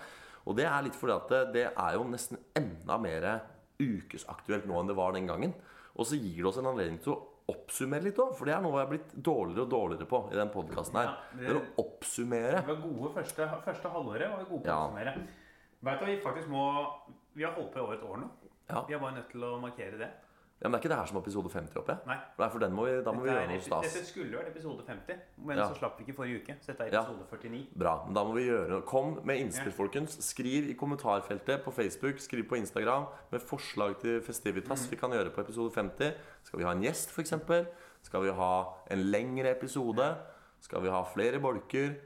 Speaker 2: Og det er litt fordi at det, det er jo nesten enda mer ukesaktuelt nå enn det var den gangen. Og så gir det oss en anledning til å oppsummere litt òg, for det er noe jeg har blitt dårligere og dårligere på i den podkasten her.
Speaker 3: Ja, det-
Speaker 2: det er å oppsummere.
Speaker 3: Vi var gode første, første halvåret. var Vi gode på å
Speaker 2: Ja.
Speaker 3: oppsummere. Vet du, hva vi faktisk må Vi har holdt på i over et år nå.
Speaker 2: Ja.
Speaker 3: Vi er bare nødt til å markere det.
Speaker 2: Ja, men Det er ikke det her som er episode 50 oppe?
Speaker 3: Nei.
Speaker 2: Nei, for den må vi, da må vi
Speaker 3: Dette
Speaker 2: gjøre
Speaker 3: er
Speaker 2: noe
Speaker 3: epi-
Speaker 2: stas.
Speaker 3: Dette skulle jo vært episode 50, men
Speaker 2: Ja.
Speaker 3: så slapp vi ikke forrige uke. Så dette er
Speaker 2: Ja.
Speaker 3: episode 49.
Speaker 2: Bra. men Da må vi gjøre noe. Kom med innspill, folkens. Skriv i kommentarfeltet på Facebook, skriv på Instagram med forslag til festivitas
Speaker 3: Mm.
Speaker 2: vi kan gjøre på episode 50. Skal vi ha en gjest, f.eks.? Skal vi ha en lengre episode? Skal vi ha flere bolker?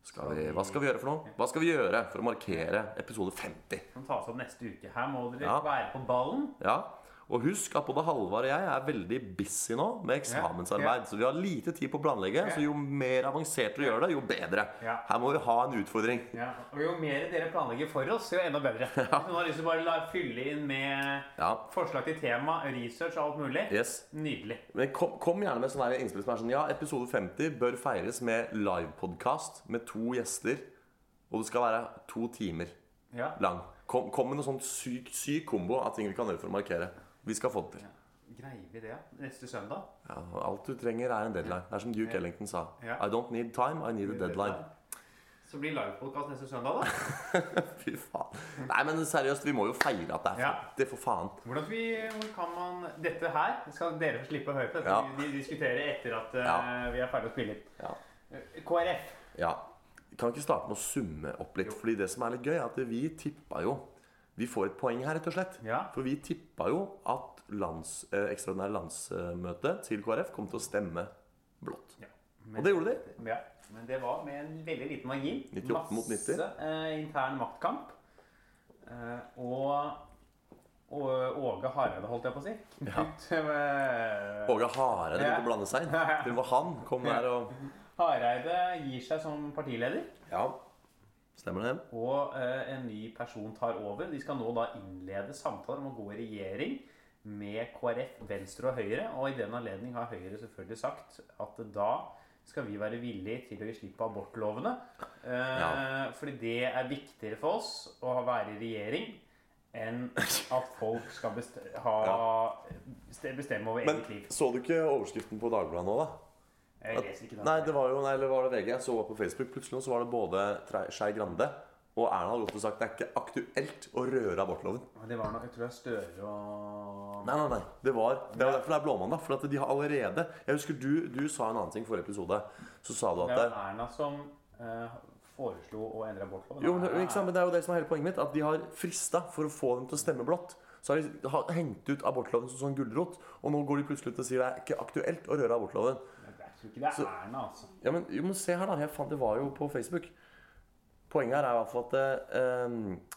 Speaker 2: Skal vi, hva skal vi gjøre for noe? Hva skal vi gjøre for å markere episode 50?
Speaker 3: Kan tas opp neste uke. Her må dere
Speaker 2: Ja.
Speaker 3: være på ballen.
Speaker 2: Ja. Og husk at både Halvard og jeg er veldig busy nå med eksamensarbeid. Så vi har lite tid på å planlegge. Så jo mer avansert du gjør det, jo bedre.
Speaker 3: Ja.
Speaker 2: Her må vi ha en utfordring.
Speaker 3: Og jo mer dere planlegger for oss, jo enda bedre. Hvis noen har lyst til å bare la, fylle inn med
Speaker 2: Ja.
Speaker 3: forslag til tema, research og alt mulig,
Speaker 2: Yes.
Speaker 3: nydelig.
Speaker 2: Men kom, kom gjerne med sånne her innspill som er sånn Ja, episode 50 bør feires med livepodkast med to gjester. Og det skal være to timer
Speaker 3: Ja.
Speaker 2: lang. Kom, kom med noe sånn syk, syk kombo av ting vi kan gjøre for å markere. Vi skal få det til.
Speaker 3: Greier vi det neste søndag?
Speaker 2: Ja, og alt du trenger, er en deadline. Det er som Duke Ellington sa.
Speaker 3: Ja.
Speaker 2: I don't need time, I need a deadline.
Speaker 3: Så blir livepodkast neste søndag, da.
Speaker 2: Fy faen. Nei, men seriøst, vi må jo feire at det er
Speaker 3: Ja.
Speaker 2: 50, for faen.
Speaker 3: Hvordan skal vi, hvor kan man Dette her skal dere få slippe å høre på. Dette
Speaker 2: Ja.
Speaker 3: vi vi diskuterer etter at eh,
Speaker 2: Ja.
Speaker 3: vi er ferdig å spille inn. Eh,
Speaker 2: Ja.
Speaker 3: KrF.
Speaker 2: ja. Kan vi ikke starte med å summe opp litt? Fordi det som er litt gøy, er at vi tippa jo Vi får et poeng her, rett og slett.
Speaker 3: Ja.
Speaker 2: For vi tippa jo at lands, eh, ekstraordinære landsmøte til KrF kom til å stemme blått.
Speaker 3: Ja.
Speaker 2: Og det gjorde de.
Speaker 3: Ja, men det var med en veldig liten margin.
Speaker 2: 98 mot 90.
Speaker 3: Masse eh, intern maktkamp. Eh, og, og Åge Hareide, holdt jeg på å si. Knut eh,
Speaker 2: Åge Hareide begynte å blande seg inn. Det var han. Kom der og
Speaker 3: Hareide gir seg som partileder,
Speaker 2: Ja, stemmer det.
Speaker 3: og eh, en ny person tar over. De skal nå da innlede samtaler om å gå i regjering med KrF, Venstre og Høyre. Og i den anledning har Høyre selvfølgelig sagt at da skal vi være villige til å gi slipp på abortlovene. Eh,
Speaker 2: Ja.
Speaker 3: Fordi det er viktigere for oss å ha- være i regjering enn at folk skal best ha, ste- bestemme over
Speaker 2: Men
Speaker 3: eget liv.
Speaker 2: så du ikke overskriften på Dagbladet nå, da?
Speaker 3: Jeg leser ikke den.
Speaker 2: Nei, det var jo, nei, eller var det VG? Jeg så på Facebook. Plutselig så var det både Tre- Skei Grande og Erna hadde gått og sagt det er ikke aktuelt å røre abortloven.
Speaker 3: Det var noe, jeg tror det er Støre og
Speaker 2: Nei, nei, nei. Det var, det er derfor det er blåmandag. For at de har allerede Jeg husker du, du sa en annen ting i forrige episode. Så sa du at
Speaker 3: Det
Speaker 2: det,
Speaker 3: er Erna som eh, foreslo å endre abortloven.
Speaker 2: jo, men,
Speaker 3: Erna er-
Speaker 2: ikke sant, men det er jo det som er hele poenget mitt. At de har frista for å få dem til å stemme blått. Så har de ha- hengt ut abortloven som sånn gulrot. Og nå går de plutselig ut og sier det er ikke aktuelt å røre abortloven.
Speaker 3: Jeg tror ikke det er
Speaker 2: Så-
Speaker 3: Erna, altså.
Speaker 2: Ja, men, jo, men se her, da. Jeg fant, det var jo på Facebook. Poenget her er i hvert fall at eh,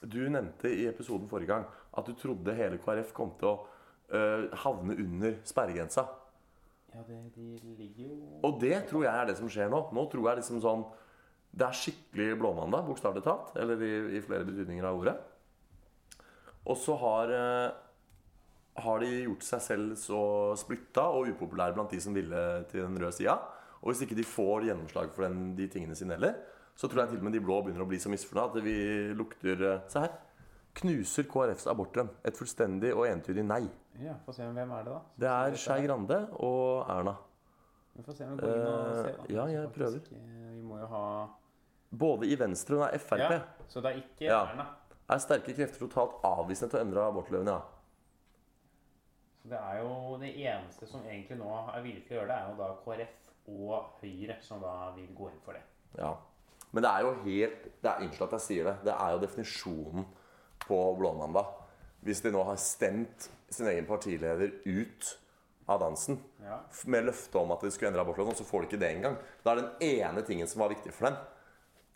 Speaker 2: du nevnte i episoden forrige gang at du trodde hele KrF kom til å eh, havne under sperregrensa.
Speaker 3: Ja, det, de ligger jo
Speaker 2: Og det tror jeg er det som skjer nå. Nå tror jeg liksom sånn Det er skikkelig blåmandag, bokstavelig talt. Eller i, i flere betydninger av ordet. Og så har eh, har de gjort seg selv så splitta og upopulære blant de som ville til den røde sida. Og hvis ikke de får gjennomslag for den, de tingene sine heller, så tror jeg til og med de blå begynner å bli så misfornøyde at vi lukter eh, Se her. Knuser KrFs abortdrøm. Et fullstendig og entydig nei.
Speaker 3: Ja, få se hvem er det, da.
Speaker 2: Det er Skei Grande og Erna.
Speaker 3: Vi får se om vi går inn og
Speaker 2: Eh,
Speaker 3: ser, da.
Speaker 2: ja, jeg
Speaker 3: Faktisk,
Speaker 2: prøver.
Speaker 3: eh, Vi må jo ha
Speaker 2: Både i Venstre og i Frp.
Speaker 3: Ja, så det er ikke
Speaker 2: Ja.
Speaker 3: Erna.
Speaker 2: er sterke krefter totalt avvisende til å endre abortloven. Ja.
Speaker 3: Så det er jo det eneste som egentlig nå er villig til å gjøre det, er jo da KrF og Høyre som da vil gå inn for det.
Speaker 2: ja. Men det er jo helt det er, Unnskyld at jeg sier det. Det er jo definisjonen på blåmandag. Hvis de nå har stemt sin egen partileder ut av dansen
Speaker 3: Ja.
Speaker 2: f- med løfte om at de skulle endre abortloven, og så får de ikke det engang. Da er den ene tingen som var viktig for dem.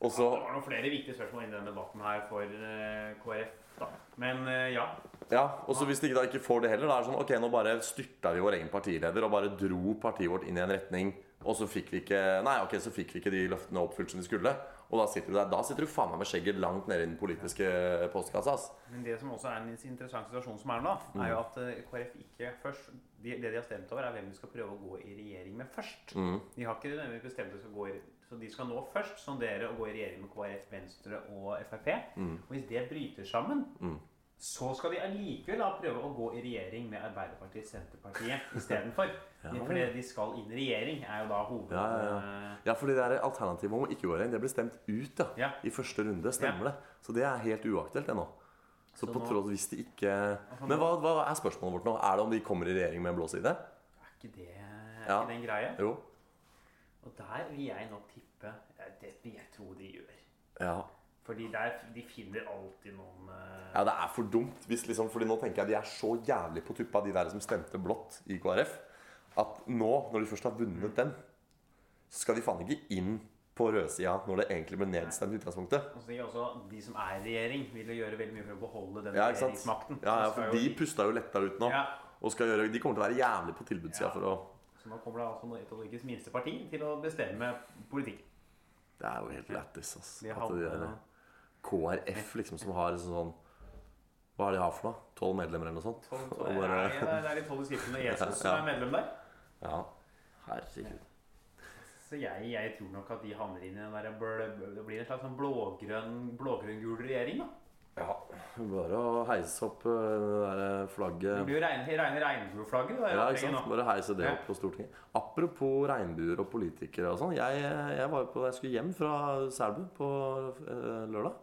Speaker 2: Og så
Speaker 3: Det var noen flere viktige spørsmål inni denne debatten her for eh, KrF, da. Men eh, ja.
Speaker 2: Ja, og så hvis de ikke, da ikke får det heller, da er det sånn Ok, nå bare styrta vi vår egen partileder og bare dro partiet vårt inn i en retning, og så fikk vi ikke Nei, ok, så fikk vi ikke de løftene oppfylt som de skulle. Og da sitter du der. Da sitter du faen meg med skjegget langt nede i den politiske postkassa, ass.
Speaker 3: Men det som også er en interessant situasjon som er nå, da, er jo
Speaker 2: Mm.
Speaker 3: at eh, KrF ikke først de, Det de har stemt over, er hvem de skal prøve å gå i regjering med først.
Speaker 2: Mm.
Speaker 3: De har ikke nødvendigvis bestemt at de skal gå i Så de skal nå først sondere og gå i regjering med KrF, Venstre og Frp.
Speaker 2: Mm.
Speaker 3: Og hvis det bryter sammen Så skal de allikevel da prøve å gå i regjering med Arbeiderpartiet Senterpartiet istedenfor. ja. For det de skal inn i regjering, er jo da hoved...
Speaker 2: Ja, ja, Ja, fordi det der alternativet om å ikke gå inn, det ble stemt ut, ja.
Speaker 3: Ja.
Speaker 2: I første runde,
Speaker 3: Ja.
Speaker 2: stemmer det. Så det er helt uaktuelt ennå. Så,
Speaker 3: Så
Speaker 2: på
Speaker 3: nå-
Speaker 2: tross hvis de ikke Men hva, hva er spørsmålet vårt nå? Er det om de kommer i regjering med en blå side?
Speaker 3: Er ikke det er
Speaker 2: Ja.
Speaker 3: ikke det en greie?
Speaker 2: Jo.
Speaker 3: Og der vil jeg nok tippe ja, Det vil jeg tro de gjør.
Speaker 2: Ja.
Speaker 3: Fordi der, de finner alltid noen eh,
Speaker 2: Ja, det er for dumt. Hvis liksom, fordi nå tenker jeg de er så jævlig på tuppa, de der som stemte blått i KrF, at nå, når de først har
Speaker 3: Mm.
Speaker 2: vunnet den, så skal de faen ikke inn på rødsida når det egentlig ble nedstemt i utgangspunktet.
Speaker 3: Og så tenker jeg også De som er i regjering, vil jo gjøre veldig mye for å beholde den
Speaker 2: Ja, ikke sant?
Speaker 3: regjeringsmakten.
Speaker 2: Ja, ja,
Speaker 3: Så skal
Speaker 2: for
Speaker 3: jo-
Speaker 2: de pusta jo lettere ut nå.
Speaker 3: Ja.
Speaker 2: Og skal gjøre, de kommer til å være jævlig på tilbudssida
Speaker 3: Ja.
Speaker 2: for å
Speaker 3: Så nå kommer det altså noe- et av Norges minste parti til å bestemme politikken.
Speaker 2: Det er jo helt lættis, ass.
Speaker 3: De
Speaker 2: At de
Speaker 3: havner-
Speaker 2: der KrF, liksom, som har sånn sånn Hva er det de har for noe? Tolv medlemmer eller noe sånt?
Speaker 3: Tolv-
Speaker 2: Og
Speaker 3: Nei,
Speaker 2: bare-
Speaker 3: det er- det er de tolv skriftene Jesus som
Speaker 2: Ja.
Speaker 3: er medlem der.
Speaker 2: Ja. Herregud.
Speaker 3: Så jeg, jeg tror nok at de havner inn i den der blø- Det blir en slags sånn blågrønn, blågrønn-gul regjering, da.
Speaker 2: Ja. Bare å heise opp øh, det der flagget
Speaker 3: Det blir jo regne, regne regnbueflagget. det er
Speaker 2: Ja,
Speaker 3: jo
Speaker 2: ikke sant?
Speaker 3: nå.
Speaker 2: Bare heise det
Speaker 3: Ja.
Speaker 2: opp på Stortinget. Apropos regnbuer og politikere og sånn. Jeg, jeg var jo på, jeg skulle hjem fra Selbu på eh, lørdag.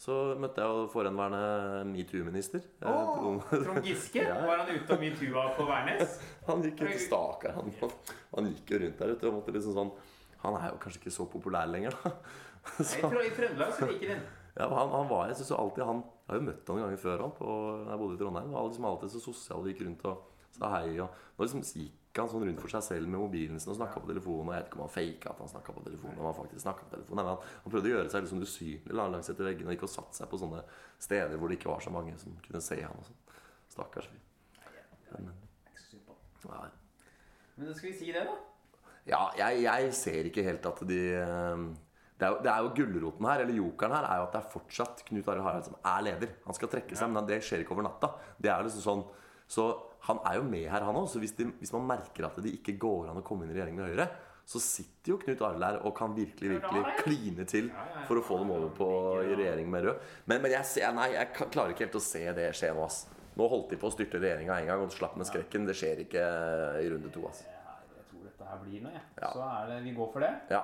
Speaker 2: Så møtte jeg jo forhenværende metoo-minister. Eh,
Speaker 3: Åh,
Speaker 2: Trond-
Speaker 3: Trond Giske?
Speaker 2: Ja.
Speaker 3: Var han ute av metoo-a på Værnes?
Speaker 2: Han gikk ut i staker. Han, han gikk jo rundt der ute og måtte liksom sånn Han er jo kanskje ikke så populær lenger, da.
Speaker 3: Nei, I Trø- i Trøndelag så liker han.
Speaker 2: Ja, han, han var, jeg synes jo alltid han, jeg har jo møtt han noen ganger før han på, når jeg bodde i Trondheim. Han var liksom alltid så sosial og gikk rundt og sa hei. Og, nå liksom gikk han sånn rundt for seg selv med mobilen sin og snakka på telefonen. Og jeg vet ikke om han faka at han snakka på telefonen. Om han faktisk snakket på telefonen Nei, men han, han prøvde å gjøre seg liksom usynlig la han langs etter veggene og gikk og satte seg på sånne steder hvor det ikke var så mange som kunne se han. og sånn. Stakkars fyr.
Speaker 3: Jeg er ikke så synd på han.
Speaker 2: Nei.
Speaker 3: Men da skal vi si det, da.
Speaker 2: Ja, jeg, jeg ser ikke helt at de eh, det er, jo, det er jo gulroten her, eller jokeren her, er jo at det er fortsatt Knut Arild Hareide som er leder. Han skal trekke seg, men det skjer ikke over natta. Det er liksom sånn Så han er jo med her, han òg. Så hvis, de, hvis man merker at det ikke går an å komme inn i regjering med Høyre, så sitter jo Knut Arild her og kan virkelig, virkelig kline til for å få dem over på i regjering med Rød. Men, men jeg, ser, nei, jeg kan- klarer ikke helt å se det skje nå, ass. Nå holdt de på å styrte regjeringa en gang og slapp med skrekken. Det skjer ikke i runde to, ass.
Speaker 3: Det her- Jeg tror dette her blir noe, jeg.
Speaker 2: Ja.
Speaker 3: Så er det, vi går for det.
Speaker 2: Ja.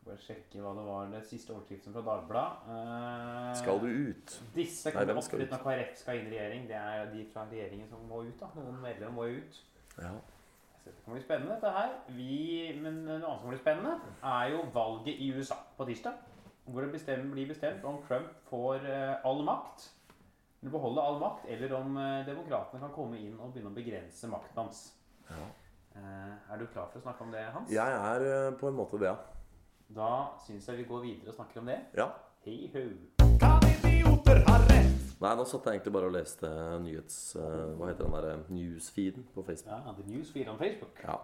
Speaker 3: Bare sjekke hva det var den siste overskriften fra Dagbladet. Eh,
Speaker 2: Skal du ut?
Speaker 3: Disse
Speaker 2: Nei,
Speaker 3: kommer
Speaker 2: hvem skal
Speaker 3: oppfritt
Speaker 2: ut?
Speaker 3: når KrF skal inn i regjering. Det er de fra regjeringen som må ut, da. Noen medlemmer må jo ut.
Speaker 2: Ja.
Speaker 3: Så det kan bli spennende, dette her. Vi, men noe annet som blir spennende, er jo valget i USA på tirsdag. Hvor det bestem- blir bestemt om Trump får eh, all makt, eller beholde all makt, eller om eh, demokratene kan komme inn og begynne å begrense makten hans.
Speaker 2: Ja.
Speaker 3: Eh, er du klar for å snakke om det, Hans?
Speaker 2: Jeg er eh, på en måte det, ja.
Speaker 3: Da syns jeg vi går videre og snakker om det.
Speaker 2: ja.
Speaker 3: Hei ho!
Speaker 2: Nei, nå satt jeg egentlig bare og leste nyhets... eh, hva heter den derre newsfeeden på Facebook.
Speaker 3: Ja, The News 4 on Facebook.
Speaker 2: Ja.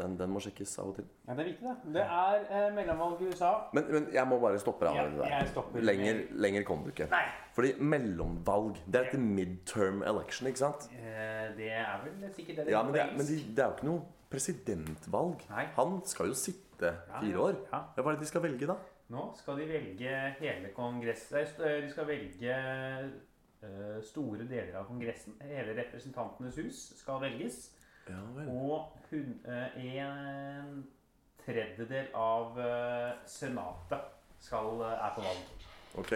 Speaker 2: Den, den må sjekkes av og til.
Speaker 3: Ja, det er viktig, det. Det er eh, mellomvalg i USA.
Speaker 2: Men, men jeg må bare stoppe deg.
Speaker 3: Ja,
Speaker 2: Arne, der.
Speaker 3: jeg stopper.
Speaker 2: lenger, lenger kom du ikke.
Speaker 3: Nei.
Speaker 2: Fordi mellomvalg, det er etter midterm election, ikke sant?
Speaker 3: Eh, det er vel sikkert det det
Speaker 2: Ja,
Speaker 3: heter
Speaker 2: Men
Speaker 3: på
Speaker 2: det, er-
Speaker 3: engelsk.
Speaker 2: men de, det er jo ikke noe presidentvalg.
Speaker 3: Nei.
Speaker 2: Han skal jo sitte fire år.
Speaker 3: Ja.
Speaker 2: Ja, Hva er det de skal velge, da?
Speaker 3: Nå skal de velge hele kongressen nei, st- De skal velge eh, store deler av kongressen. Hele Representantenes hus skal velges.
Speaker 2: Ja vel.
Speaker 3: Og hun, eh, en tredjedel av eh, senatet skal, eh, er på valg.
Speaker 2: Ok,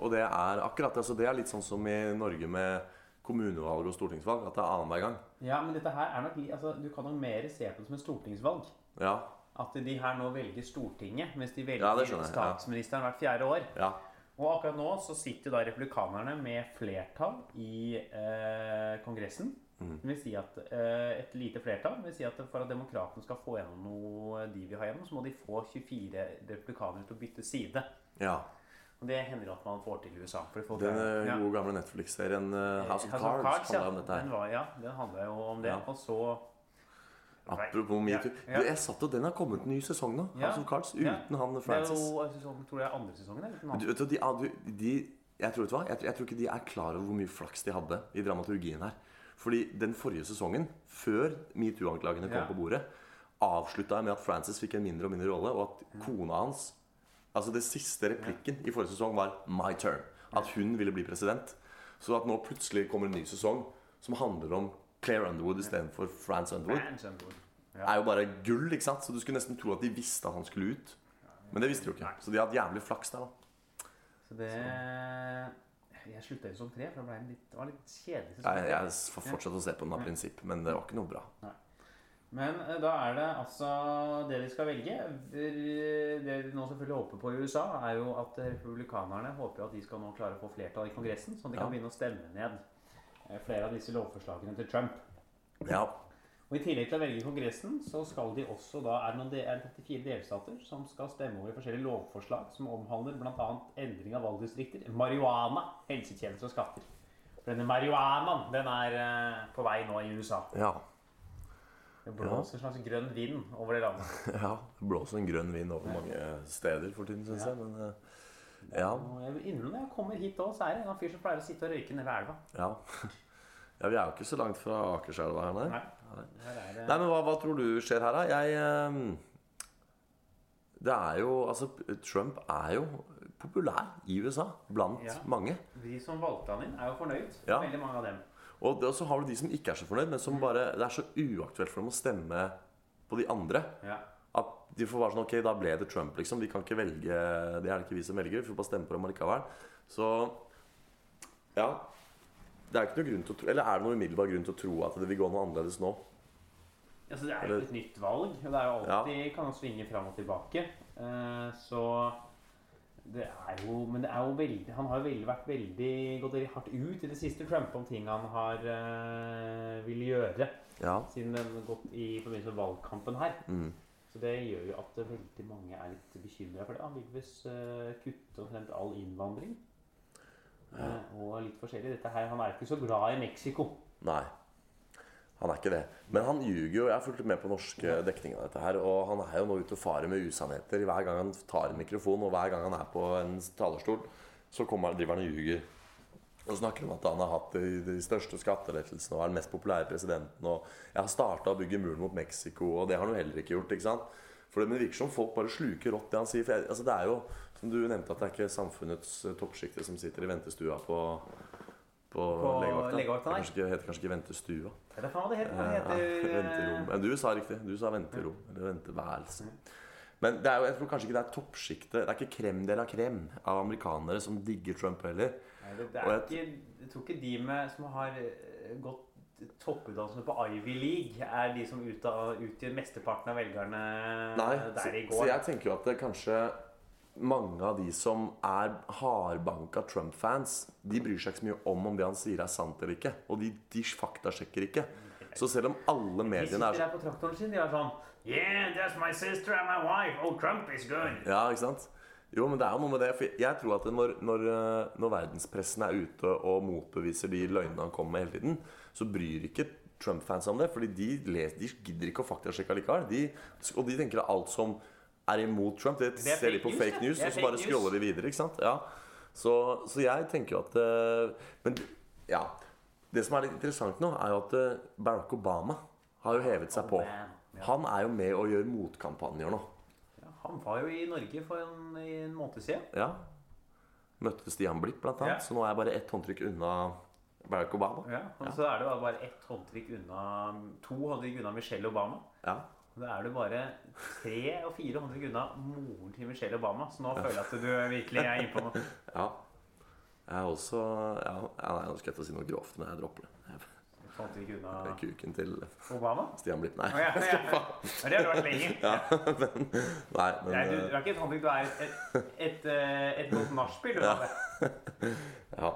Speaker 2: og det er akkurat altså det er litt sånn som i Norge med kommunevalg og stortingsvalg, at det er annenhver gang.
Speaker 3: Ja, men dette her er nok li- altså, Du kan nok mer se på det som et stortingsvalg.
Speaker 2: Ja,
Speaker 3: At de her nå velger Stortinget, mens de velger
Speaker 2: Ja, det skjønner jeg, ja.
Speaker 3: statsministeren hvert fjerde år.
Speaker 2: ja,
Speaker 3: Og akkurat nå så sitter jo da republikanerne med flertall i eh, Kongressen.
Speaker 2: Mm.
Speaker 3: Det vil si at eh, Et lite flertall. Det vil si at For at demokratene skal få gjennom noe de vil ha gjennom, så må de få 24 republikanere til å bytte side.
Speaker 2: ja.
Speaker 3: Og Det hender at man får til i USA. For de får
Speaker 2: Den eh,
Speaker 3: Ja.
Speaker 2: gode gamle Netflix-serien eh, House of
Speaker 3: House
Speaker 2: Cards handler
Speaker 3: ja.
Speaker 2: om dette
Speaker 3: Den
Speaker 2: her.
Speaker 3: var, ja, den handla jo om det.
Speaker 2: Ja.
Speaker 3: Og så
Speaker 2: Apropos
Speaker 3: Ja,
Speaker 2: metoo.
Speaker 3: ja.
Speaker 2: Du, Jeg satt og den har kommet en ny sesong nå,
Speaker 3: Ja.
Speaker 2: House of Cards,
Speaker 3: Ja.
Speaker 2: uten han
Speaker 3: Det er
Speaker 2: Francis.
Speaker 3: jo jeg synes, tror jeg andre sesongen. Eller noe
Speaker 2: Du,
Speaker 3: annet.
Speaker 2: vet du, de, ah, du, de, jeg tror, vet du hva? Jeg, tror- jeg tror ikke de er klar over hvor mye flaks de hadde i dramaturgien her. Fordi den forrige sesongen, før metoo-anklagene kom
Speaker 3: Ja.
Speaker 2: på bordet, avslutta jeg med at Francis fikk en mindre og mindre rolle, og
Speaker 3: Mm.
Speaker 2: at kona hans Altså det siste replikken i forrige sesong var 'my turn'. At hun ville bli president. Så at nå plutselig kommer en ny sesong som handler om Claire Underwood istedenfor France Underwood,
Speaker 3: Brands and Wood. Ja.
Speaker 2: er jo bare gull. ikke sant? Så du skulle nesten tro at de visste at han skulle ut. Men det visste de jo ikke. Så de har hatt jævlig flaks der, da.
Speaker 3: Så det Jeg slutta jo som tre, for det, ble en litt, det var en litt kjedelig. sesong.
Speaker 2: Jeg, jeg får fortsatt å se på den av prinsipp, men det var ikke noe bra.
Speaker 3: Men eh, da er det altså det de skal velge. Det det de nå selvfølgelig håper på i USA, er jo at republikanerne håper at de skal nå klare å få flertall i Kongressen, sånn at de kan
Speaker 2: Ja.
Speaker 3: begynne å stemme ned eh, flere av disse lovforslagene til Trump.
Speaker 2: Ja,
Speaker 3: Og I tillegg til å velge Kongressen, så skal de også da, er det noen de- er det 34 delstater som skal stemme over forskjellige lovforslag som omhandler bl.a. endring av valgdistrikter, marihuana, helsetjenester og skatter. For denne marihuanaen den er eh, på vei nå i USA.
Speaker 2: ja,
Speaker 3: Det blåser en slags grønn vind over det landet.
Speaker 2: ja. Det blåser en grønn vind over mange steder for tiden, syns jeg. Men eh, ja,
Speaker 3: Og jeg vil innrømme, når jeg kommer hit òg, så er det en eller annen fyr som pleier å sitte og røyke nede ved elva.
Speaker 2: ja. ja, vi er jo ikke så langt fra Akerselva her, nei.
Speaker 3: Nei, her er det
Speaker 2: Nei, men hva, hva tror du skjer her, da? Jeg eh, Det er jo Altså, Trump er jo populær i USA blant
Speaker 3: Ja.
Speaker 2: mange.
Speaker 3: De som valgte han inn, er jo fornøyd.
Speaker 2: Ja.
Speaker 3: Veldig mange av dem.
Speaker 2: Og det- og så har du de som ikke er så fornøyd, men som bare Det er så uaktuelt for dem å stemme på de andre.
Speaker 3: Ja.
Speaker 2: At de får være sånn Ok, da ble det Trump, liksom. Vi kan ikke velge Det er det ikke vi som velger. Vi får bare stemme på dem allikevel. Så Ja. Det er ikke noe grunn til å tro Eller er det noen umiddelbar grunn til å tro at det vil gå noe annerledes nå?
Speaker 3: Altså, det er jo et nytt valg. og Det er jo alltid kan jo svinge fram og tilbake. Eh, Så Det er jo, men det er jo veldig, han har jo veldig, vært veldig gått veldig hardt ut i det siste, Trump, om ting han har uh, vil gjøre.
Speaker 2: Ja.
Speaker 3: Siden den har gått i forbindelse med valgkampen her.
Speaker 2: Mm.
Speaker 3: Så det gjør jo at veldig mange er litt bekymra for det. Han vil visst eh, kutte omtrent all innvandring. eh, og litt forskjellig. Dette her, Han er ikke så glad i Mexico.
Speaker 2: Nei. Han er ikke det. Men han ljuger jo. Jeg har fulgt med på norske dekninger av dette her. Og han er jo nå ute og farer med usannheter hver gang han tar en mikrofon, og hver gang han er på en talerstol, så kommer han, driver han og ljuger. Og snakker om at han har hatt de, de største skattelettelsene og er den mest populære presidenten. Og jeg har starta å bygge muren mot Mexico, og det har han jo heller ikke gjort. ikke sant? For det men det virker som folk bare sluker rått det han sier. For jeg, altså det er jo, som du nevnte, at det er ikke samfunnets eh, toppsjikte som sitter i ventestua på, på,
Speaker 3: På
Speaker 2: legevakta.
Speaker 3: legevakta, nei.
Speaker 2: Det kanskje ikke, heter kanskje ikke ventestua.
Speaker 3: Hva er det faen det heter? Hva
Speaker 2: Ja,
Speaker 3: heter
Speaker 2: Eh, venterom. Ja, Du sa riktig. Du sa venterom. Eller venteværelse. Men det er jo, jeg tror kanskje ikke det er toppsjiktet. Det er ikke krem de la krem av amerikanere som digger Trump heller.
Speaker 3: Nei, det, det
Speaker 2: Og
Speaker 3: er
Speaker 2: jeg-
Speaker 3: ikke, jeg tror ikke de med, som har eh, gått topputdannelse på Ivy League, er de som ut av, utgjør mesteparten av velgerne
Speaker 2: Nei, så,
Speaker 3: der i
Speaker 2: så
Speaker 3: går.
Speaker 2: jeg tenker jo at det kanskje mange av de som er hardbanka Trump-fans, de bryr seg ikke så mye om om det han sier er sant eller ikke. Og de, de faktasjekker ikke. Så selv om alle
Speaker 3: de
Speaker 2: mediene
Speaker 3: sitter
Speaker 2: er sånn
Speaker 3: der på traktoren sin, de er sånn Yeah, that's my sister and my wife. Oh, Trump is good.
Speaker 2: Ja, ikke sant? Jo, men det er jo noe med det. For jeg tror at når, når, eh, når verdenspressen er ute og motbeviser de løgnene han kommer med hele tiden, så bryr ikke Trump-fans om det. fordi de, les, de gidder ikke å faktasjekke likevel. De, og de tenker at alt som er imot Trump, det,
Speaker 3: er
Speaker 2: ser de
Speaker 3: fake
Speaker 2: på
Speaker 3: news,
Speaker 2: fake
Speaker 3: det.
Speaker 2: news,
Speaker 3: Det er
Speaker 2: og så
Speaker 3: fake
Speaker 2: bare
Speaker 3: news.
Speaker 2: scroller de videre. ikke sant? Ja. Så, så jeg tenker jo at eh, Men ja. Det som er litt interessant nå, er jo at eh, Barack Obama har jo hevet seg på.
Speaker 3: man. Ja.
Speaker 2: Han er jo med og gjør motkampanjer nå.
Speaker 3: Ja, Han var jo i Norge for en, i en måned siden.
Speaker 2: Ja. Møtte Stian Blipp, blant annet.
Speaker 3: Ja.
Speaker 2: Så nå er jeg bare ett håndtrykk unna Barack Obama.
Speaker 3: Ja, og så er det da bare ett håndtrykk unna To håndtrykk unna Michelle Obama.
Speaker 2: Ja.
Speaker 3: Og Da er du bare tre og fire håndtrykk unna moren til Michelle Obama. Så nå føler jeg at du virkelig er inne på noe.
Speaker 2: ja. Jeg er også ja, ja, Nei, nå skal jeg til å si noe grovt, men jeg dropper det. Jeg-
Speaker 3: Et håndtrykk
Speaker 2: det
Speaker 3: unna
Speaker 2: er Kuken til
Speaker 3: Obama?
Speaker 2: Stian Blipp, nei.
Speaker 3: Å, ja, ja, ja. Ja, Det har du vært lenger.
Speaker 2: nei
Speaker 3: Nei,
Speaker 2: men,
Speaker 3: du,
Speaker 2: eh,
Speaker 3: du er ikke et håndtrykk, du er et, et, et, eh, et godt nachspiel. du, Mabel.
Speaker 2: ja.